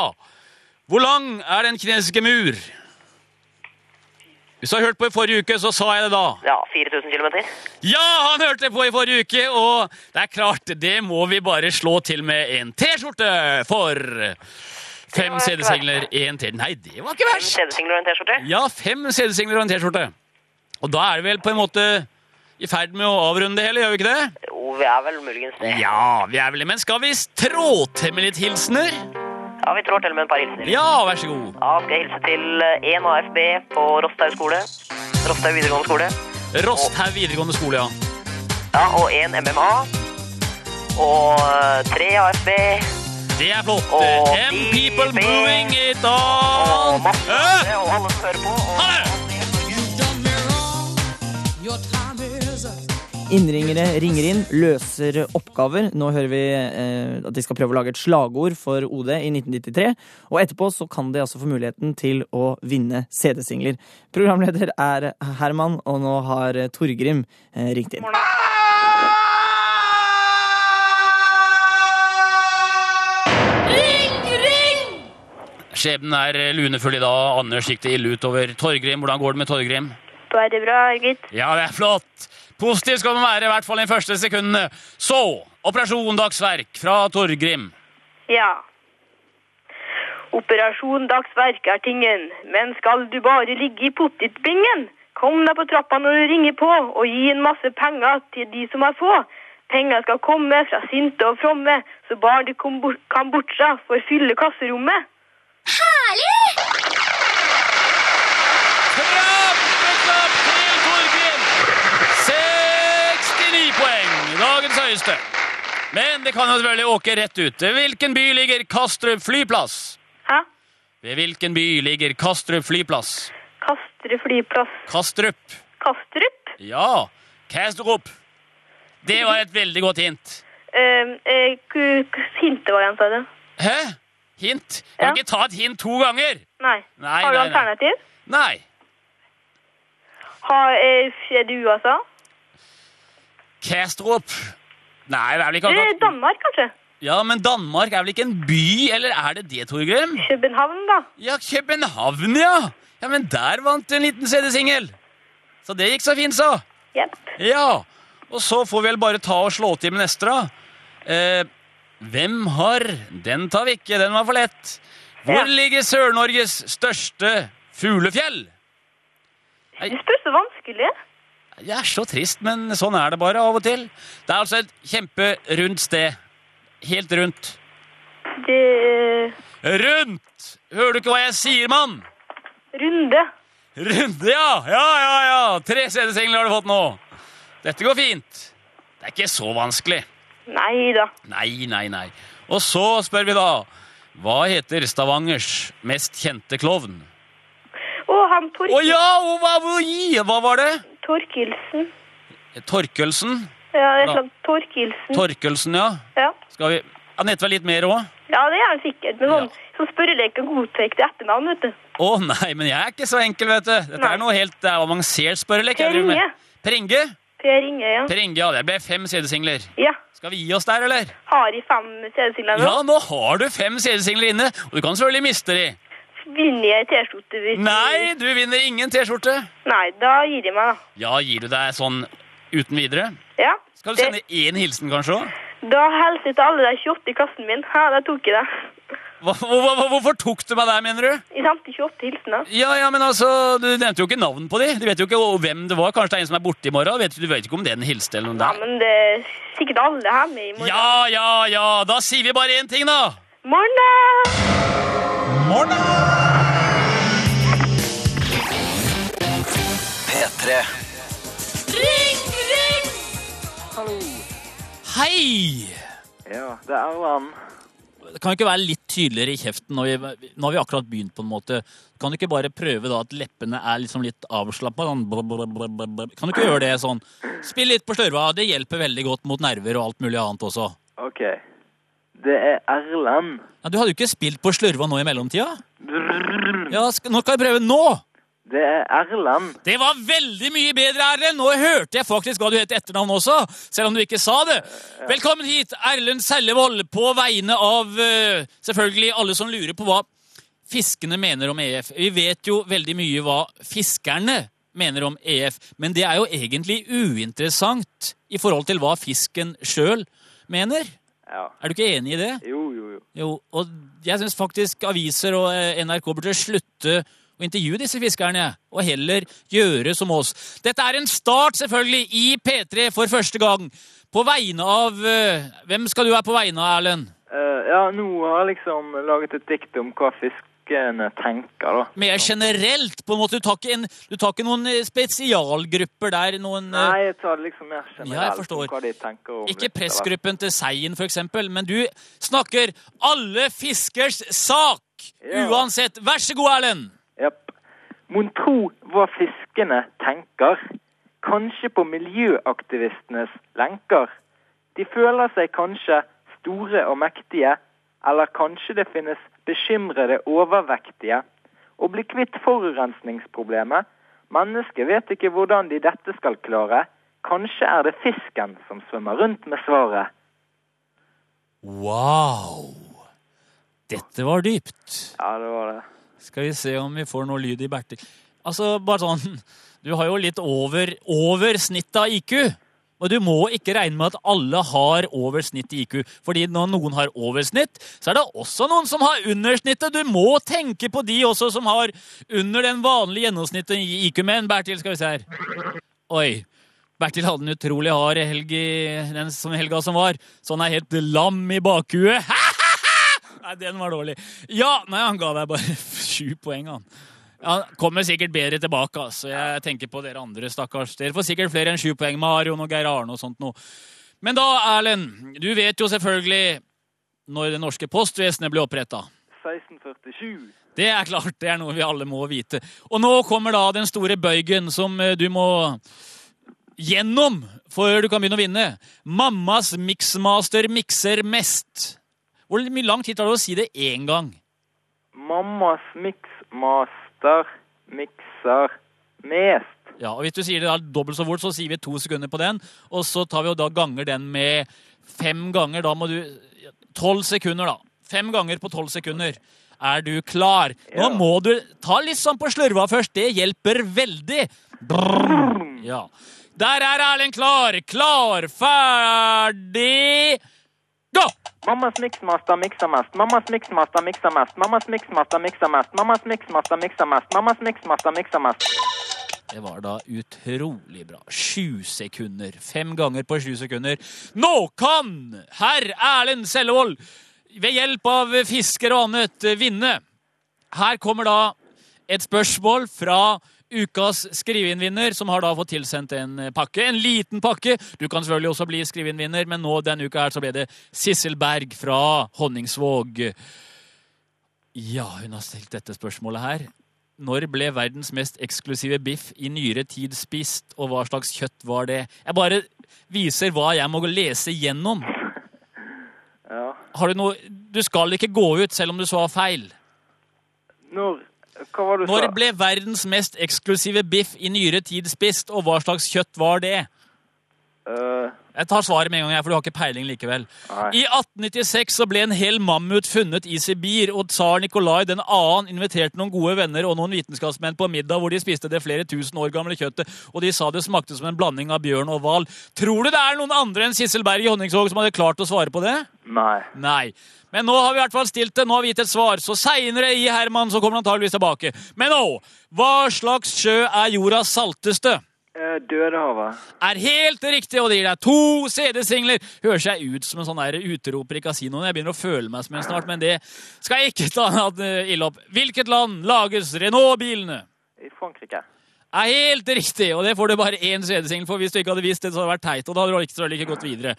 F: Hvor lang er den kinesiske mur? Hvis du har hørt på i forrige uke, så sa jeg det da.
K: Ja, 4000 kilometer.
F: Ja, han hørte på i forrige uke, og det er klart, det må vi bare slå til med en T-skjorte for fem CD-singler, én til. Nei, det var ikke verst!
K: Fem CD-singler og en T-skjorte.
F: Ja, fem CD-singler og en T-skjorte. Og da er vi vel på en måte i ferd med å avrunde det hele, gjør vi ikke det?
K: Jo, vi er vel muligens det.
F: Ja, vi er vel det. Men skal vi trå til med litt hilsener?
K: Ja, vi trår til med et par hilsener.
F: Ja, vær så god.
K: Ja, skal jeg hilse til eh, en AFB på Rosthaug skole. Rosthaug videregående skole.
F: Rosthaug videregående skole, ja.
K: Ja, og en MMA. Og eh, tre AFB.
F: Det er flott. Eh, M People Brewing It All. Hæ?
K: Og alle som hører på. Og...
D: Innringere ringer inn, løser oppgaver. Nå hører vi eh, at de skal prøve å lage et slagord for OD i 1993. Og etterpå så kan de altså få muligheten til å vinne CD-singler. Programleder er Herman, og nå har Torgrim eh, ringt inn.
F: Ring, ring! Skjebnen er lunefull i dag. Anders gikk det ille utover Torgrim. Hvordan går det med Torgrim?
I: Bare bra, gitt.
F: Ja, det er flott. Positiv skal man være, i hvert fall i de første sekundene. Så, Operasjon Dagsverk fra Torgrim.
I: Ja. Operasjon dagsverk er tingen, men skal du bare ligge i potetbingen? Kom deg på trappa når du ringer på, og gi en masse penger til de som er få. Penger skal komme fra sinte og fromme, så barn til Kombo- Kambodsja får fylle klasserommet.
L: Herlig!
F: Bra! Men det kan jo selvfølgelig åke rett ut. Til Hvilken by ligger Kastrup flyplass?
I: Hæ?
F: Ved hvilken by ligger Kastrup flyplass?
I: Kastrup flyplass.
F: Kastrup.
I: Kastrup?
F: Ja, Kastrup. Det var et veldig godt hint.
I: Uh, hintet var igjen, sa du?
F: Hæ? Hint? Du kan ikke ta et hint to ganger.
I: Nei.
F: Nei,
I: Har du
F: nei, nei.
I: alternativ?
F: Nei.
I: Har, eh, er det USA?
F: Kastrup. Nei, det er vel ikke
I: Eh,
F: akkurat
I: Danmark, kanskje?
F: Ja, men Danmark er vel ikke en by, eller er det det, Torgrim?
I: København, da?
F: Ja, København, ja. Ja, men der vant en liten CD-singel. Så det gikk så fint, så.
I: Jepp.
F: Ja, og så får vi vel bare ta og slå til med neste, da. Eh, hvem har Den tar vi ikke, den var for lett. Hvor ligger Sør-Norges største fuglefjell?
I: Du spør så vanskelig.
F: Det er så trist, men sånn er det bare av og til. Det er altså et kjemperundt sted. Helt rundt.
I: Det eh,
F: Rundt! Hører du ikke hva jeg sier, mann?
I: Runde.
F: Runde, ja! Ja, ja, ja! Tre CD-singler har du fått nå. Dette går fint. Det er ikke så vanskelig.
I: Nei da.
F: Nei, nei, nei. Og så spør vi da Hva heter Stavangers mest kjente klovn?
I: Å, han Torkil...
F: Å ja! Og hva, hvor- i, hva var det?
I: Torkilsen.
F: Torkelsen?
I: Ja, det er
F: Ja.
I: sånn Torkilsen.
F: Torkelsen, ja.
I: Ja.
F: Skal vi Han heter vel litt mer òg?
I: ja, det er han sikkert. Men sånn, så spørreleken godtar ikke etternavn, vet du.
F: Å nei, men jeg er ikke så enkel, vet du. Dette er noe helt det er avansert spørrelek. jeg
I: Per
F: driver med.
I: Inge.
F: Pringe?
I: Per Inge, ja.
F: Per Inge, ja. Det ble fem CD-singler.
I: Ja.
F: Skal vi gi oss der, eller?
I: Har i fem CD-singler nå?
F: Ja, nå har du fem CD-singler inne, og du kan selvfølgelig miste de.
I: Vinner jeg T-skjorte? hvis-
F: Nei, du vinner ingen T-skjorte.
I: Nei, da gir jeg meg, da.
F: Ja, gir du deg sånn uten videre?
I: Ja.
F: Skal du sende én hilsen, kanskje òg?
I: Da hilser jeg til alle de 28 i klassen min. Ja, da tok jeg det.
F: Hvorfor tok du meg der, mener du?
I: Jeg sendte 28 hilsener.
F: Ja, ja, men altså, Du nevnte jo ikke navn på de. Du vet jo ikke hvem det var. Kanskje det er en som er borte i morgen. Du vet, du vet ikke om den hilste eller noe
I: Ja,
F: der.
I: men det er sikkert alle her med i morgen.
F: Ja, ja, ja. Da sier vi bare én ting, da.
I: Morgen, da!
A: P3.
L: Ring, ring!
M: Hallo.
F: Hei!
M: Ja, det er Erland.
N: Kan du ikke være litt tydeligere i kjeften? Når vi, nå har vi akkurat begynt, på en måte. Kan du ikke bare prøve da at leppene er liksom litt avslappa? Sånn, blub, blub, blub, blub, blub? Kan du ikke gjøre det sånn? Spill litt på slørva. Det hjelper veldig godt mot nerver og alt mulig annet også.
M: OK. Det er Erland.
N: Ja, du hadde jo ikke spilt på slørva nå i mellomtida? Ja, sk nå skal jeg prøve nå!
M: Det er Erland.
N: Det var veldig mye bedre, Erlend! Nå hørte jeg faktisk hva du het i etternavn også, selv om du ikke sa det. Velkommen hit, Erlend Sellevold, på vegne av eh, selvfølgelig alle som lurer på hva fiskene mener om EF. Vi vet jo veldig mye hva fiskerne mener om EF, men det er jo egentlig uinteressant i forhold til hva fisken sjøl mener. Er du ikke enig i det?
M: Jo, jo, jo.
N: Jo, og jeg syns faktisk aviser og eh, NRK burde slutte å intervjue disse fiskerne, og heller gjøre som oss. Dette er en start, selvfølgelig, i P3 for første gang. På vegne av eh, Hvem skal du være på vegne av, Erlend?
M: Eh, ja, nå har jeg liksom laget et dikt om hva fiskene tenker, da.
N: Mer generelt, på en måte. Du tar ikke, en, du tar ikke noen eh, spesialgrupper der? Noen, eh,
M: Nei, jeg tar det liksom mer generelt.
N: Ja, jeg forstår.
M: om Hva de tenker om
N: Ikke
M: litt av hvert.
N: pressgruppen til Seien, for eksempel, men du snakker alle fiskers sak!
M: Ja.
N: Uansett. Vær så god, Erlend!
M: Mon tro hva fiskene tenker? Kanskje på miljøaktivistenes lenker? De føler seg kanskje store og mektige, eller kanskje det finnes bekymrede overvektige. Å bli kvitt forurensningsproblemet? Mennesket vet ikke hvordan de dette skal klare. Kanskje er det fisken som svømmer rundt med svaret.
N: Wow! Dette var dypt.
M: Ja, det var det.
N: Skal vi se om vi får noe lyd i Bertil. Altså, bare sånn Du har jo litt over, over snittet av IQ. Og du må ikke regne med at alle har over snitt i IQ. Fordi når noen har over snitt, så er det også noen som har under snittet. Du må tenke på de også som har under den vanlige gjennomsnittet i IQ. Men Bertil, skal vi se her. Oi. Bertil hadde en utrolig hard helg i den som- helga som var, så han er helt lam i bakhuet. Nei, den var dårlig. Ja, nei, han ga deg bare sju poeng, han. Han kommer sikkert bedre tilbake, altså. Jeg tenker på dere andre, stakkars. Dere får sikkert flere enn sju poeng. Marion og Geir Arne og sånt noe.
F: Men da, Erlend, du vet jo selvfølgelig når det norske postvesenet ble oppretta.
M: 1647.
F: Det er klart, det er noe vi alle må vite. Og nå kommer da den store bøygen som eh, du må gjennom før du kan begynne å vinne. Mammas mixmaster mikser mest. Hvor mye lang tid tar det å si det én gang?
M: Mammas mixmaster mikser mest.
F: Ja, og Hvis du sier det da dobbelt så fort, så sier vi to sekunder på den. Og så tar vi og da ganger den med fem ganger. Da må du Tolv sekunder, da. Fem ganger på tolv sekunder. Er du klar? Nå må du ta litt sånn på slurva først. Det hjelper veldig. Brrr. Ja. Der er Erlend klar. Klar, ferdig Gå!
M: Mammas mixmaster mikser mest. Mammas mixmaster mikser mest. Mammas mixmaster mikser mest. Mammas mixmaster mikser mest. Mammas mixmaster mikser mest.
F: Det var da utrolig bra. Sju sekunder. Fem ganger på sju sekunder. Nå kan herr Erlend Sellevold ved hjelp av fisker og annet vinne. Her kommer da et spørsmål fra ukas skriveinnvinner, som har da fått tilsendt en pakke. En liten pakke. Du kan selvfølgelig også bli skriveinnvinner, men nå denne uka her så ble det Sissel Berg fra Honningsvåg. Ja, hun har stilt dette spørsmålet her. Når ble verdens mest eksklusive biff i nyere tid spist, og hva slags kjøtt var det? Jeg bare viser hva jeg må lese gjennom.
M: Ja.
F: Har du noe Du skal ikke gå ut selv om du så feil.
M: Når Hva var det du
F: Når
M: sa?
F: ble verdens mest eksklusive biff i nyere tid spist, og hva slags kjøtt var det? Jeg tar svaret med en gang, jeg, for du har ikke peiling likevel. I 1896 så ble en hel mammut funnet i Sibir, og tsar Nikolai 2. inviterte noen gode venner og noen vitenskapsmenn på middag hvor de spiste det flere tusen år gamle kjøttet, og de sa det smakte som en blanding av bjørn og hval. Tror du det er noen andre enn Sissel Berg i Honningsvåg som hadde klart å svare på det?
M: Nei.
F: Nei. Men nå har vi i hvert fall stilt det, nå har vi gitt et svar, så seinere i Herman så kommer han antageligvis tilbake. Men nå, hva slags sjø er jordas salteste?
M: Eh, Dødehavet.
F: er helt riktig, og det gir deg to CD-singler. Høres jeg ut som en sånn der utroper i kasinoen? Jeg begynner å føle meg som en snart, men det skal jeg ikke ta eh, ille opp. Hvilket land lages Renault-bilene?
M: I Frankrike.
F: Er helt riktig, og det får du bare én CD-singel for. Hvis du ikke hadde visst det, så hadde det vært teit, og da hadde du ikke, så hadde du ikke gått videre.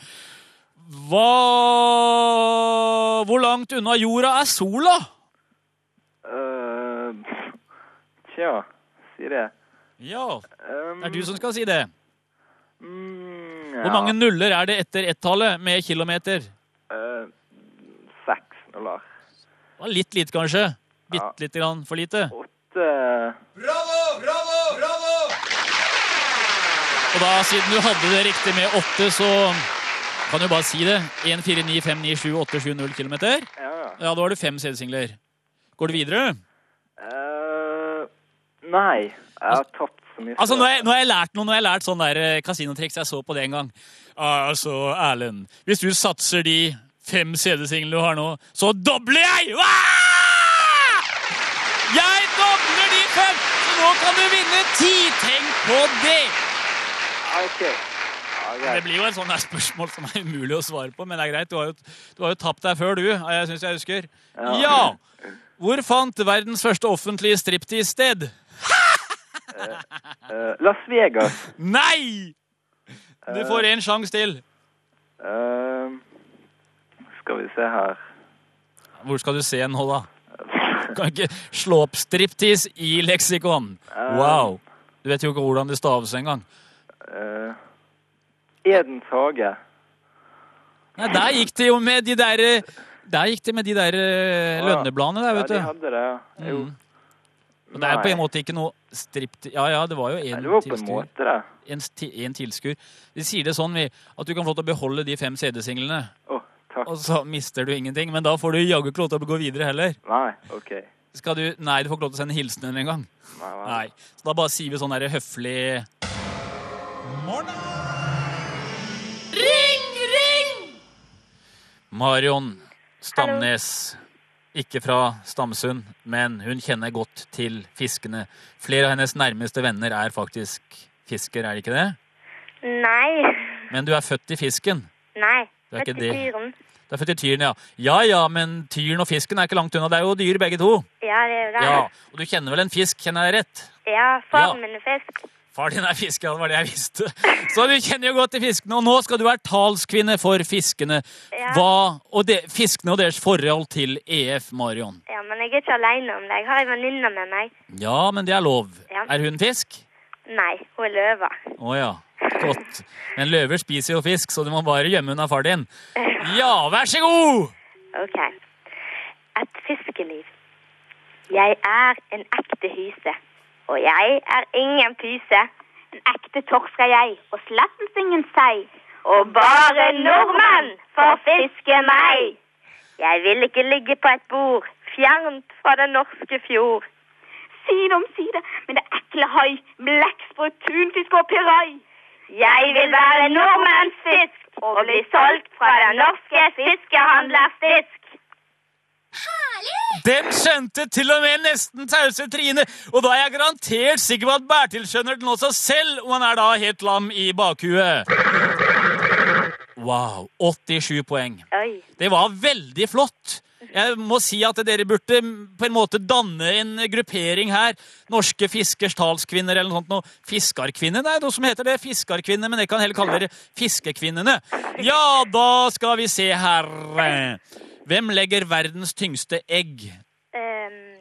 F: Hva Hvor langt unna jorda er sola?
M: Eh, tja, si det.
F: Ja, det er du som skal si det.
M: Hvor
F: Hvor mange nuller er det etter ett-tallet med kilometer?
M: Eh, Seks nuller.
F: Det var litt lite, kanskje. Bitte lite grann for lite.
M: Eh,
F: Og da, siden du hadde det riktig med åtte, så kan du bare si det. 1, 4, 9, 5, 9, 7, 8, 7, 0 kilometer.
M: ja.
F: Ja, da har du fem CD-singler. Går du videre?
M: Eh, nei, jeg har tapt så mye.
F: Altså, nå har jeg, nå har jeg lært noe, nå har jeg lært sånn der eh, kasinotriks jeg så på det en gang. Altså, Erlend, hvis du satser de fem CD-singlene du har nå, så dobler jeg! Ah! Jeg dobler de fem! Så nå kan du vinne ti! Tenk på det!
M: Ah,
F: Det blir jo et sånt der spørsmål som er umulig å svare på, men det er greit. Du har jo, du har jo tapt deg før, du. Jeg syns jeg husker.
M: Ja.
F: ja! Hvor fant verdens første offentlige striptease-sted?
M: Eh, Las Vegas.
F: Nei! Du får en sjanse til.
M: Eh, skal vi se her.
F: Hvor skal du se nå, da? Kan ikke slå opp striptease i leksikon. Wow. Du vet jo ikke hvordan det staves engang.
M: Eh, Edens hage.
F: Nei, der gikk det jo med de der Der gikk det med de der eh, lønnebladene der, vet
M: Ja, de
F: du.
M: hadde det, ja. Jo.
F: Mm. Og det er på en
M: Nei.
F: måte ikke noe striptease Ja ja, det var jo en
M: det var på en
F: tilskuer.
M: måte, det.
F: En, ti- en tilskuer. Vi sier det sånn, vi, at du kan få lov til å beholde de fem CD-singlene. Og så mister du ingenting. Men da får du jaggu ikke lov til å gå videre heller.
M: Nei, OK.
F: Skal du Nei, du får ikke lov til å sende hilsener engang.
M: Nei, nei.
F: Nei. Så da bare sier vi sånn der høflig
L: Ring, ring!
F: Marion Stamnes. Ikke fra Stamsund, men hun kjenner godt til fiskene. Flere av hennes nærmeste venner er faktisk fisker, er det ikke det?
O: Nei.
F: Men du er født i fisken.
O: Nei.
F: Det er ikke
O: Vet du,
F: det.
O: Tyren.
F: Du er født i tyren, ja. Ja ja, men tyren og fisken er ikke langt unna. Det er jo dyr, begge to.
O: Ja, det er det.
F: Ja, Og du kjenner vel en fisk, kjenner jeg rett?
O: Ja, faren min er fisk.
F: Far din er fisker, ja, det var det jeg visste. Så du kjenner jo godt til fiskene, og nå skal du være talskvinne for fiskene.
P: Ja.
F: Hva, og de, fiskene og deres forhold til EF, Marion.
P: Ja, men jeg er ikke alene om det. Jeg har en venninne med meg.
F: Ja, men det er lov.
P: Ja.
F: Er hun fisk?
P: Nei, hun er løve.
F: Å ja. Godt. Men løver spiser jo fisk, så du må bare gjemme unna far din. Ja, vær så god!
P: Ok. Et fiskeliv. Jeg er en ekte hyse. Og jeg er ingen pyse. En ekte torsk er jeg, og slettes ingen sei. Og bare nordmenn får fiske meg. Jeg vil ikke ligge på et bord, fjernt fra den norske fjord. Side om side med det ekle hai, blekksprut, tunfisk og pirai. Jeg vil være nordmenns fisk og bli solgt fra den norske fiskehandlers fisk.
F: Den skjønte til og med nesten tause Trine, og da er jeg garantert sikker på at Bertil skjønner den også selv, om han er da helt lam i bakhuet. Wow. 87 poeng.
P: Oi.
F: Det var veldig flott. Jeg må si at dere burde på en måte danne en gruppering her. Norske fiskers talskvinner eller noe sånt. noe. Fiskarkvinner? Nei, noe som heter det. Fiskarkvinner, men jeg kan heller kalle dere Fiskekvinnene. Ja, da skal vi se her. Hvem legger verdens tyngste egg?
P: Ehm,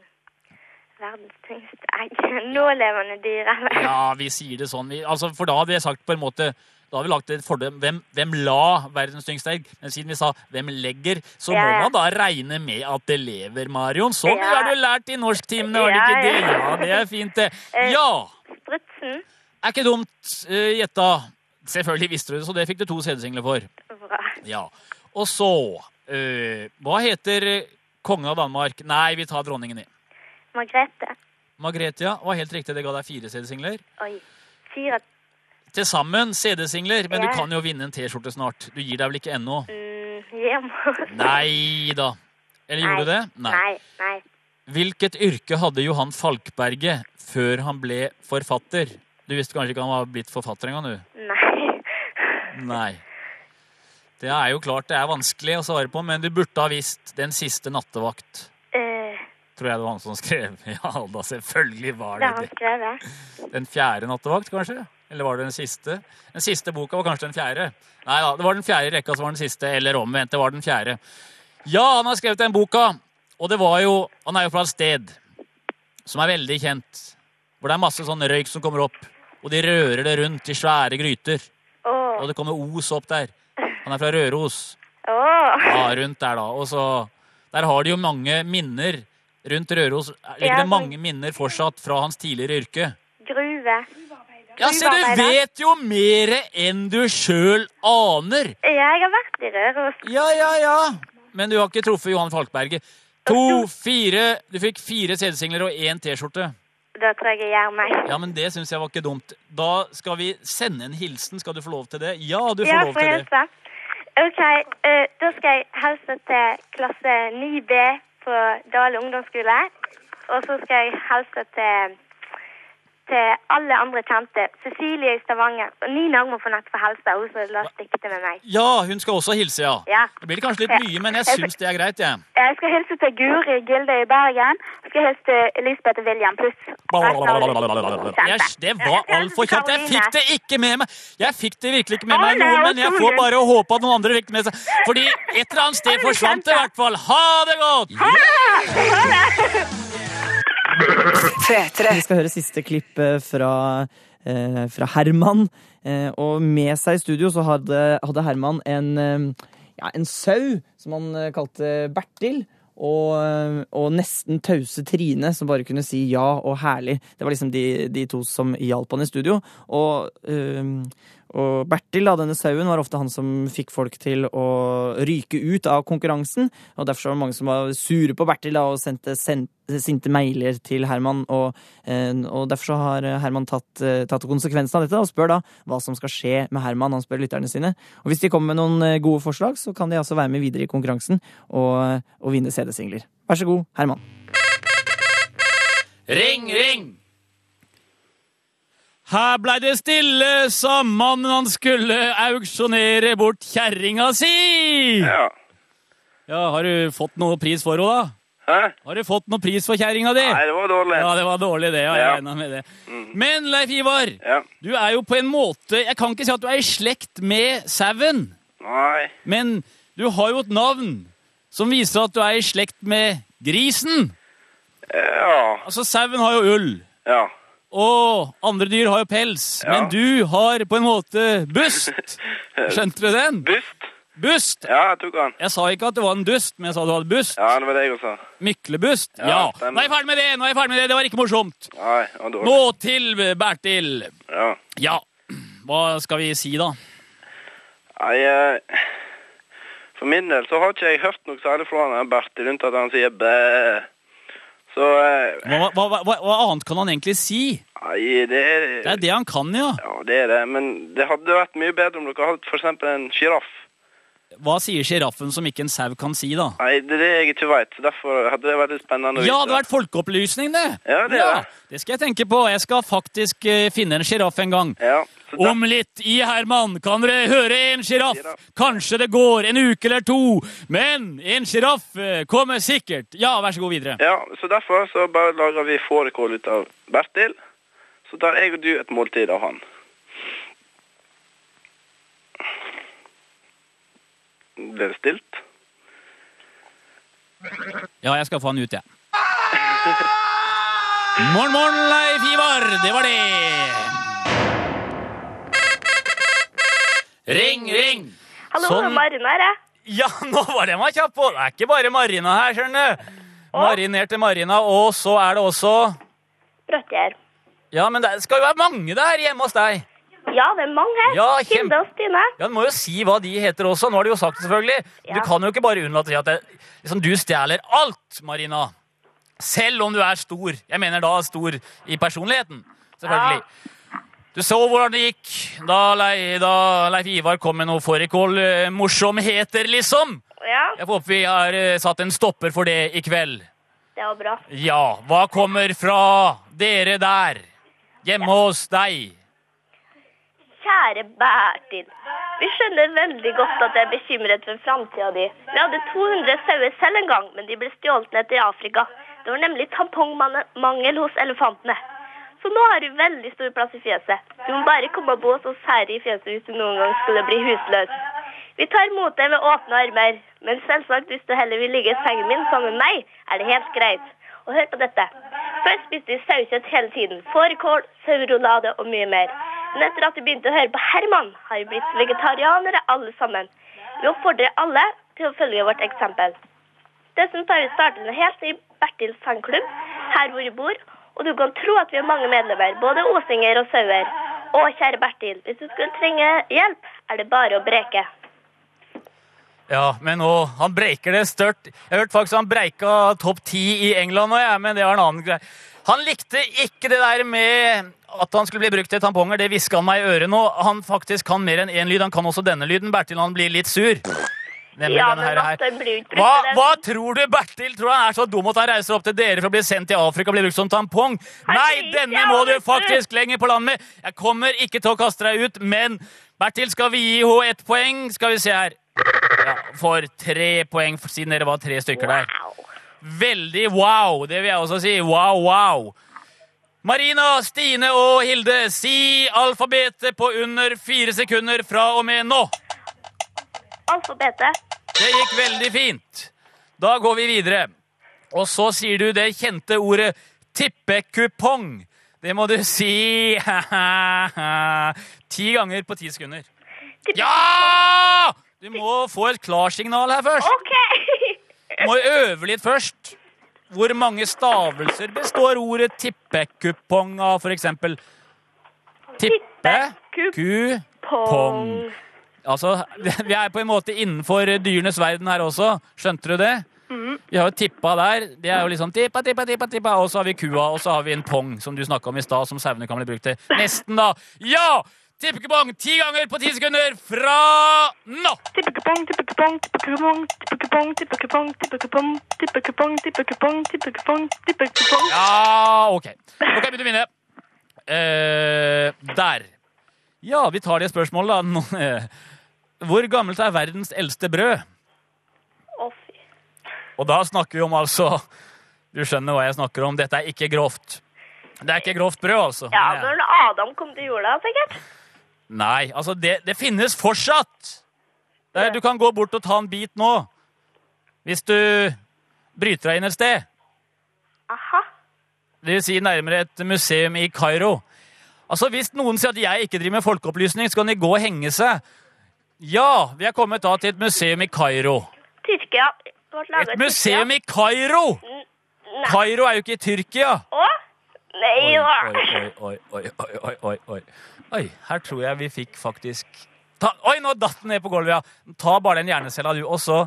P: verdens tyngste egg. Nålevende dyr, eller?
F: Ja, vi sier det sånn. Vi, altså, for da hadde jeg sagt på en måte da har vi lagt et fordel hvem, hvem la verdens tyngste egg? Men siden vi sa hvem legger, så
P: Ja,
F: må
P: ja.
F: man da regne med at det lever, Marion. Så mye
P: Ja.
F: har du lært i norsktimene, har du
P: Ja, Eh.
F: ikke det?
P: ja.
F: Ja, det er fint, det. Ja!
P: Strutsen.
F: Er ikke dumt eh, gjetta. Selvfølgelig visste du det, så det fikk du to CD-singler for.
P: Bra.
F: Ja. Og så eh, Hva heter eh, kongen av Danmark? Nei, vi tar dronningen i.
P: Margrethe.
F: Margrethe ja, var helt riktig. Det ga deg fire CD-singler.
P: Oi. Fire
F: Til sammen CD-singler, men
P: Ja.
F: du kan jo vinne en T-skjorte snart. Du gir deg vel ikke ennå?
P: mm, hjem.
F: Nei da. Eller gjorde du det?
P: Nei. Nei. Nei.
F: Hvilket yrke hadde Johan Falkberget før han ble forfatter? Du visste kanskje ikke han var blitt forfatter engang, du?
P: Nei.
F: Nei. Det er jo klart det er vanskelig å svare på, men du burde ha visst Den siste nattevakt.
P: Eh,
F: Tror jeg det var han som skrev. Ja da, selvfølgelig var
P: det
F: det
P: har han
F: det.
P: skrevet.
F: Den fjerde nattevakt, kanskje? Eller var det den siste? Den siste boka var kanskje den fjerde. Nei da, det var den fjerde i rekka som var den siste, eller omvendt. Det var den fjerde. Ja, han har skrevet den boka, og det var jo Han er jo fra et sted som er veldig kjent, hvor det er masse sånn røyk som kommer opp, og de rører det rundt i svære gryter, og det kommer os opp der. Han er fra Røros.
P: Åh.
F: Ja, rundt der, da. Og så Der har de jo mange minner rundt Røros. Ligger
P: Ja,
F: det mange minner fortsatt fra hans tidligere yrke?
P: Gruve.
F: Ja, se, du
P: Gruvearbeider.
F: vet jo mere enn du sjøl aner!
P: Ja, jeg har vært i Røros.
F: Ja, ja, ja. Men du har ikke truffet Johan Falkberget. To, fire Du fikk fire CD-singler og én T-skjorte.
P: Da tror jeg jeg gjør meg.
F: Ja, men det syns jeg var ikke dumt. Da skal vi sende en hilsen. Skal du få lov til det? Ja, du får
P: ja,
F: lov
P: får
F: til det.
P: hilse. Ok, eh, da skal jeg hilse til klasse 9B på Dale ungdomsskole. Og så skal jeg hilse til, til alle andre kjente. Cecilie i Stavanger. Og Nina hun må få nett for helse. Hun som la stikket med meg.
F: Ja, hun skal også hilse, ja.
P: Ja.
F: Det blir kanskje litt mye, men jeg syns det er greit, jeg.
Q: Jeg skal hilse til Guri Gilde i Bergen. Jeg skal hilse til Elisabeth og William Puss.
F: Yes, det var altfor kjapt. Jeg fikk det ikke med meg. Jeg fikk det virkelig ikke med meg, noen, men jeg får bare håpe at noen andre fikk det med seg. Fordi et eller annet sted forsvant det i hvert fall. Ha det godt!
D: Vi skal høre siste klipp eh, fra, eh, fra Herman. Eh, og med seg i studio så hadde, hadde Herman en, eh, ja, en sau som han eh, kalte Bertil. Og, eh, og nesten tause Trine, som bare kunne si ja og herlig. Det var liksom de, de to som hjalp han i studio. Og, eh, og Bertil, da, denne sauen, var ofte han som fikk folk til å ryke ut av konkurransen. Og derfor så var det mange som var sure på Bertil da, og sendte sen- sinte mailer til Herman. Og, eh, og derfor så har Herman tatt, eh, tatt konsekvensen av dette da, og spør da hva som skal skje med Herman. Han spør lytterne sine. Og hvis de kommer med noen eh, gode forslag, så kan de altså være med videre i konkurransen og, og vinne CD-singler. Vær så god, Herman.
R: Ring, ring! Her blei det stille, sa mannen han skulle auksjonere bort kjerringa si. Ja. Har du fått noe pris for henne, da?
F: Hæ? Har du fått noen pris for kjerringa di?
S: Nei, det var dårlig.
F: Ja, det var dårlig det, og jeg
S: Ja. Mm.
F: regnet med det. Men Leif Ivar, du er jo på en måte Jeg kan ikke si at du er i slekt med sauen,
S: Nei.
F: men du har jo et navn som viser at du er i slekt med grisen.
S: Ja.
F: Altså, sauen har jo ull.
S: Ja.
F: Og andre dyr har jo pels,
S: Ja.
F: men du har på en måte bust. Skjønte du den?
S: Bust?
F: Bust?
S: Ja, jeg tok den.
F: Jeg sa ikke at det var en dust, men jeg sa du hadde bust.
S: Ja, det var det jeg også sa.
F: Myklebust?
S: Ja,
F: Ja.
S: stemmer.
F: Nå er jeg ferdig med det! nå er jeg ferdig med Det Det var ikke morsomt.
S: Nei, det var dårlig.
F: Nå til Bertil.
S: Ja.
F: Ja, hva skal vi si, da?
S: Nei, eh, for min del så har ikke jeg hørt noe særlig fra han her Bertil, rundt at han sier bæ. Så, eh,
F: Hva, hva, hva, hva hva annet kan han egentlig si?
S: nei, det er...
F: Det er det han kan, ja.
S: Ja, det er det, men det hadde vært mye bedre om dere hadde for eksempel en giraff.
F: Hva sier sjiraffen som ikke en sau kan si, da?
S: Nei, det er det jeg ikke vet, så derfor hadde det vært litt spennende å
F: Ja, det hadde vært folkeopplysning, det!
S: Ja, det er det.
F: det skal jeg tenke på. Jeg skal faktisk eh, finne en sjiraff en gang. Om litt i Herman kan dere høre en sjiraff. Kanskje det går en uke eller to, men en sjiraff eh, kommer sikkert. Ja, vær så god videre.
S: Ja, så derfor så bare lager vi fårekål ut av Bertil, så tar jeg og du et måltid av han. Ble det stilt?
F: Ja, jeg skal få han ut, jeg. Morn, morn, Leif Ivar. Det var det. Ring, ring.
P: Hallo,
F: Sånn.
P: Marina her, jeg.
F: Ja, nå var det man kjapp på. Det er ikke bare Marina her, skjønner du. Marinerte Marina, og så er det også
P: Bråttjær.
F: Ja, men det skal jo være mange der hjemme hos deg.
P: Ja, det er mange her.
F: Ja, kjem-
P: Hilde og Stine.
F: Ja, Du må jo si hva de heter også. Nå har de jo sagt det, selvfølgelig. Du
P: Ja.
F: kan jo ikke bare unnlate å si at det, liksom, du stjeler alt, Marina. Selv om du er stor. Jeg mener da stor i personligheten, selvfølgelig. Du så hvordan det gikk da, Lei, da Leif Ivar kom med noen fårikål-morsomheter, liksom.
P: Ja,
F: Jeg håper vi har eh, satt en stopper for det i kveld.
P: det var bra.
F: Ja, hva kommer fra dere der? Hjemme hos deg?
P: Kjære Bertil. Vi skjønner veldig godt at jeg er bekymret for framtida di. Vi hadde 200 sauer selv en gang, men de ble stjålet ned til Afrika. Det var nemlig tampongmangel hos elefantene. Så nå har du veldig stor plass i fjeset. Du må bare komme og bo hos oss her i fjeset hvis du noen gang skulle bli husløs. Vi tar mot deg med åpne armer, men selvsagt hvis du heller vil ligge i sengen min sammen med meg, er det helt greit. Og hør på dette. Først spiste vi sauekjøtt hele tiden. Fårikål, sauerolade og mye mer. Men etter at vi begynte å høre på Herman, har vi blitt vegetarianere alle sammen. Vi oppfordrer alle til å følge vårt eksempel. Dessuten har vi startet en helt ny Bertils fanklubb her hvor vi bor, og du kan tro at vi har mange medlemmer, både osinger og sauer. Å, kjære Bertil, hvis du skulle trenge hjelp, er det bare å breke.
F: Ja, men nå, han breiker det størt. Jeg hørte faktisk han breika topp ti i England nå, jeg, men det var en annen greie. Han likte ikke det der med at han skulle bli brukt til tamponger, det hviska han meg i øret nå. Han faktisk kan mer enn én lyd, han kan også denne lyden. Bertil, han blir litt sur. Nemlig
P: ja,
F: denne
P: men
F: her- her.
P: Vatten blir jo ikke brukt
F: Hva,
P: til det.
F: hva tror du Bertil tror han er så dum at han reiser opp til dere for å bli sendt til Afrika og bli brukt som tampong? Nei, denne må du faktisk lenger på land med. Jeg kommer ikke til å kaste deg ut, men Bertil, skal vi gi henne ett poeng? Skal vi se her. Ja, for tre poeng, for- siden dere var tre stykker der. Veldig wow. Det vil jeg også si. Wow, wow. Marina, Stine og Hilde, si alfabetet på under fire sekunder fra og med nå.
P: Alfabetet.
F: Det gikk veldig fint. Da går vi videre. Og så sier du det kjente ordet tippekupong. Det må du si ti ganger på ti sekunder. Ja! Du må få et klarsignal her først. Du må øve litt først. Hvor mange stavelser består ordet tippekupong av, for eksempel? Tippekupong. Altså, vi er på en måte innenfor dyrenes verden her også. Skjønte du det?
L: Mm.
F: Vi har jo tippa der. Det er jo liksom tippa, tippa, tippa, tippa. Og så har vi kua, og så har vi en pong, som du snakka om i stad, som sauene kan bli brukt til. Nesten, da. Ja! Tippekupong ti ganger på ti sekunder fra nå!
L: Tippekupong, tippekupong, tippekupong, tippekupong, tippekupong, tippekupong, tippekupong, tippekupong, tippekupong, tippekupong.
F: Ja, OK. OK, begynn å vinne. Eh, der. Ja, vi tar det spørsmålet, da. Nå, eh, Hvor gammelt er verdens eldste brød?
P: Å,
F: Å, Og da snakker vi om altså Du skjønner hva jeg snakker om. Dette er ikke grovt. Det er ikke grovt brød, altså.
P: Ja,
F: Men,
P: når Adam kom til jorda, sikkert.
F: Nei, altså, det, det finnes fortsatt! Det er- du kan gå bort og ta en bit nå. Hvis du bryter deg inn et sted.
P: Aha.
F: Det vil si nærmere et museum i Kairo. Altså, Hvis noen sier at jeg ikke driver med folkeopplysning, så kan de gå og henge seg. Ja, vi er kommet da til et museum i Kairo.
P: Tyrkia ble laget
F: Et museum i Kairo! Kairo er jo ikke i Tyrkia.
P: Å? Nei
F: Oi,
P: da.
F: oi, oi, oi, oi, oi, oi, oi. Oi, her tror jeg vi fikk faktisk Ta, Oi, nå datt den ned på gulvet, ja. Ta bare den hjernecella, du, og så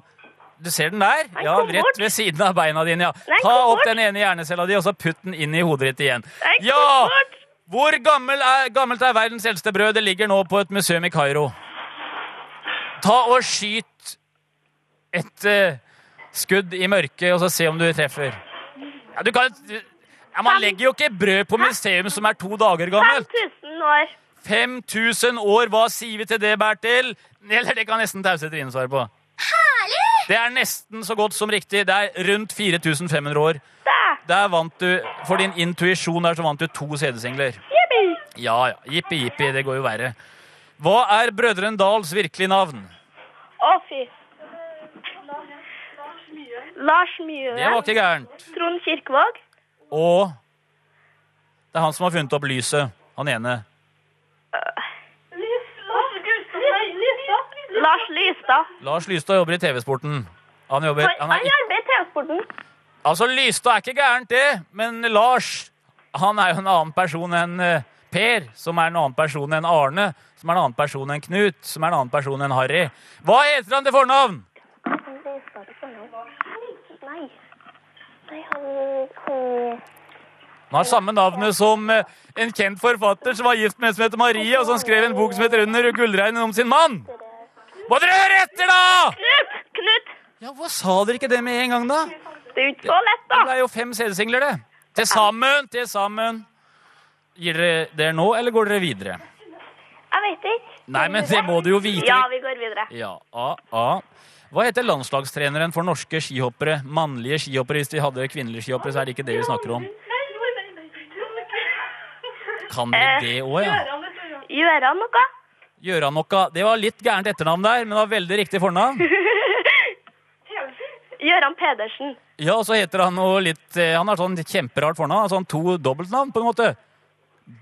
F: Du ser den der? Ja,
P: kom bort.
F: rett ved siden av beina dine, ja.
P: Nei,
F: Ta
P: kom
F: opp
P: bort.
F: den ene hjernecella di, og så putt den inn i hodet ditt igjen.
P: Nei, kom
F: Ja!
P: bort.
F: Hvor gammel er, gammelt er verdens eldste brød? Det ligger nå på et museum i Kairo. Ta og skyt et eh, skudd i mørket, og så se om du treffer. Ja, du kan... Ja, man legger jo ikke brød på museum som er to dager gammelt.
P: 5000 år.
F: 5000 år, hva sier vi til det, Bertil? Eller det kan nesten tause Trine svare på. Det er nesten så godt som riktig. Det er rundt 4500 år. Der vant du, For din intuisjon der så vant du to CD-singler. Ja, ja. Jippi, jippi. Det går jo verre. Hva er Brødrene Dals virkelige navn?
P: Å, fy. Lars Mjøen.
F: Det var ikke gærent.
P: Trond Kirkevåg.
F: Og det er han som har funnet opp lyset. Han ene.
P: Lars Lystad.
F: Lars Lystad jobber i TV-sporten. Han jobber
P: Han
F: han er, ikke-
P: arbeider i TV-sporten.
F: Altså, Lystad er ikke gærent, det, men Lars han er jo en annen person enn eh, Per, som er en annen person enn Arne, som er en annen person enn Knut, som er en annen person enn Harry. Hva heter han til fornavn?
P: Nei. Nei, han, han
F: Han har samme navnet som eh, en kjent forfatter som var gift med en som heter Marie, og som skrev en bok som heter Under gullregnet om sin mann. Må dere høre etter, da!
P: Knut! Knut!
F: Ja, hva sa dere ikke det med en gang, da?
P: Det er jo ikke så lett, da.
F: Det ble jo fem CD-singler, det. Til sammen, til sammen. Gir dere dere nå, eller går dere videre?
P: Jeg vet ikke.
F: Nei, men det må du jo vite.
P: Ja, vi går videre.
F: Ja, A, A. Hva heter landslagstreneren for norske skihoppere? Mannlige skihoppere. Hvis de hadde kvinnelige skihoppere, så er det ikke det vi snakker om. Kan dere det òg, ja?
P: Gjør han Eh, noe?
F: Gjøran Nokka. Det var litt gærent etternavn der, men det var veldig riktig fornavn.
P: Gøran Pedersen.
F: Ja, og så heter han noe litt eh, Han har sånn kjemperart fornavn. Altså han to dobbeltnavn, på en måte.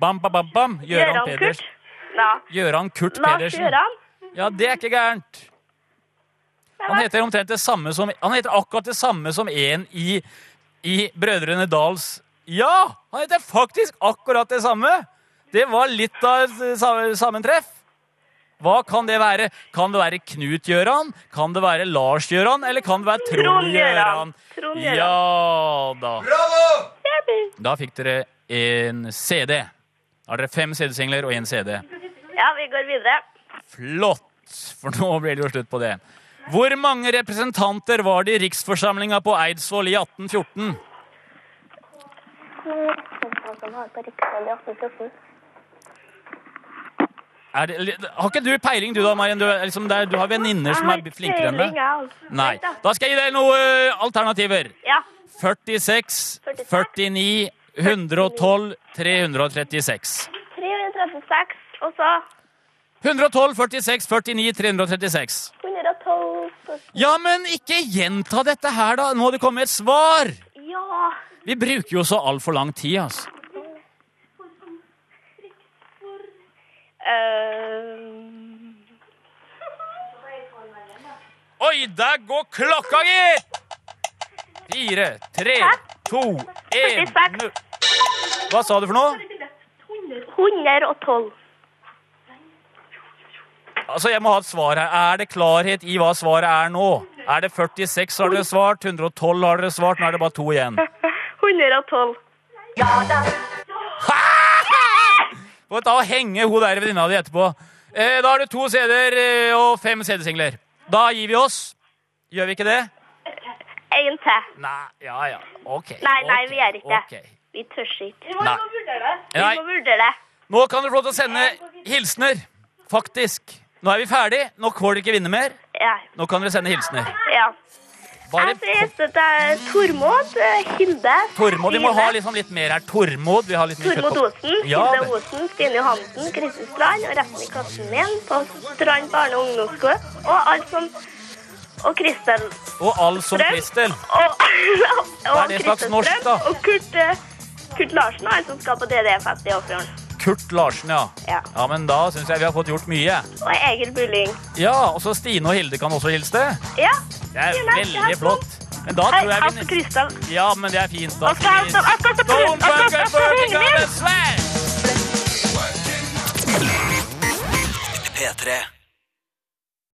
F: Bam, bam, bam, bam. Gjøran
P: Gjøran
F: Pedersen.
P: Ja.
F: Gjøran Kurt
P: Lars
F: Pedersen.
P: Gjøran.
F: Ja, det er ikke gærent. Han heter omtrent det samme som Han heter akkurat det samme som en i, i Brødrene Dals Ja! Han heter faktisk akkurat det samme! Det var litt av et eh, sa- sammentreff. Hva kan det være? Kan det være Knut Gjøran? Kan det være Lars Gjøran? Eller kan det være Trond
P: Trond
F: Gjøran?
P: Gjøran. Trond Gjøran.
F: Ja da.
P: Jippi.
F: Da fikk dere en CD. Da har dere fem CD-singler og én CD.
P: Ja, vi går videre.
F: Flott! For nå ble det jo slutt på det. Hvor mange representanter var det i riksforsamlinga på Eidsvoll i 1814? Er det, eller, har ikke du peiling, du da, Marian? Du, er liksom, der, du har altså. venninner som er flinkere enn deg. Nei. Da skal jeg gi deg noen eh, alternativer.
P: Ja.
F: 46, 49, 112, 336.
P: 336, og så
F: 112, 46, 49, 336.
P: 112
F: Ja, men ikke gjenta dette her, da. Nå må det komme et svar!
P: Ja.
F: Vi bruker jo så altfor lang tid, altså.
I: eh,
F: Ehm.
P: Øhm,
F: Oi, der går klokka, gitt! Fire, tre, to, én null. Hva sa du for noe?
P: 112.
F: Altså, Jeg må ha et svar her. Er det klarhet i hva svaret er nå? Er det 46 har dere svart, 112 har dere svart, nå er det bare to igjen.
P: 112.
F: Få ta og henge hun der venninna di etterpå. Eh, da har du to CD-er eh, og fem CD-singler. Da gir vi oss. Gjør vi ikke det?
P: En til.
F: Nei, ja, ja. Ok.
P: Nei, nei,
F: ok,
P: vi gjør ikke
F: ok.
P: det. Vi tør ikke. Vi
F: må- vi Nei. må
P: vurdere det.
F: Nei.
P: Vi må vurdere det.
F: Nå kan du få lov til å sende hilsener. Faktisk. Nå er vi ferdig. Nå får dere ikke vinne mer.
P: Ja.
F: Nå kan dere sende hilsener.
P: ja.
F: Bare
P: Jeg heter jeg Tormod eh, Hilde.
F: Tormod, vi må ha
P: Stine,
F: liksom litt mer her. Tormod. Vi har litt mye
P: Tormod
F: kjøttpop.
P: Osen,
F: Ja,
P: Hilde
F: det-
P: Osen, Stine Johansen, Kristin Strand og resten i klassen min på Strand barne- og ungdomsskole. Og alt som Og Kristel.
F: og altså all som Kristel.
P: Og, og
F: er det slags
P: Kristel
F: norsk, da?
P: Strøm og Kurt, eh, Kurt Larsen og alt som skal på DDE-fest i Åfjorden.
F: Kurt Larsen, ja.
P: Ja.
F: Ja, men da syns jeg vi har fått gjort mye.
P: Og Egil Bulling.
F: Ja, og så Stine og Hilde kan også hilse.
P: Ja.
F: Det er
P: Stine,
F: veldig flott. Men da
P: Hei,
F: tror jeg
P: alt
F: vi
P: for Kristel.
F: Ja, men det er fint, da.
P: Og så alt som- alt som-
F: Don't
P: alt
F: break
P: som-
F: a working on a slab!
T: P3.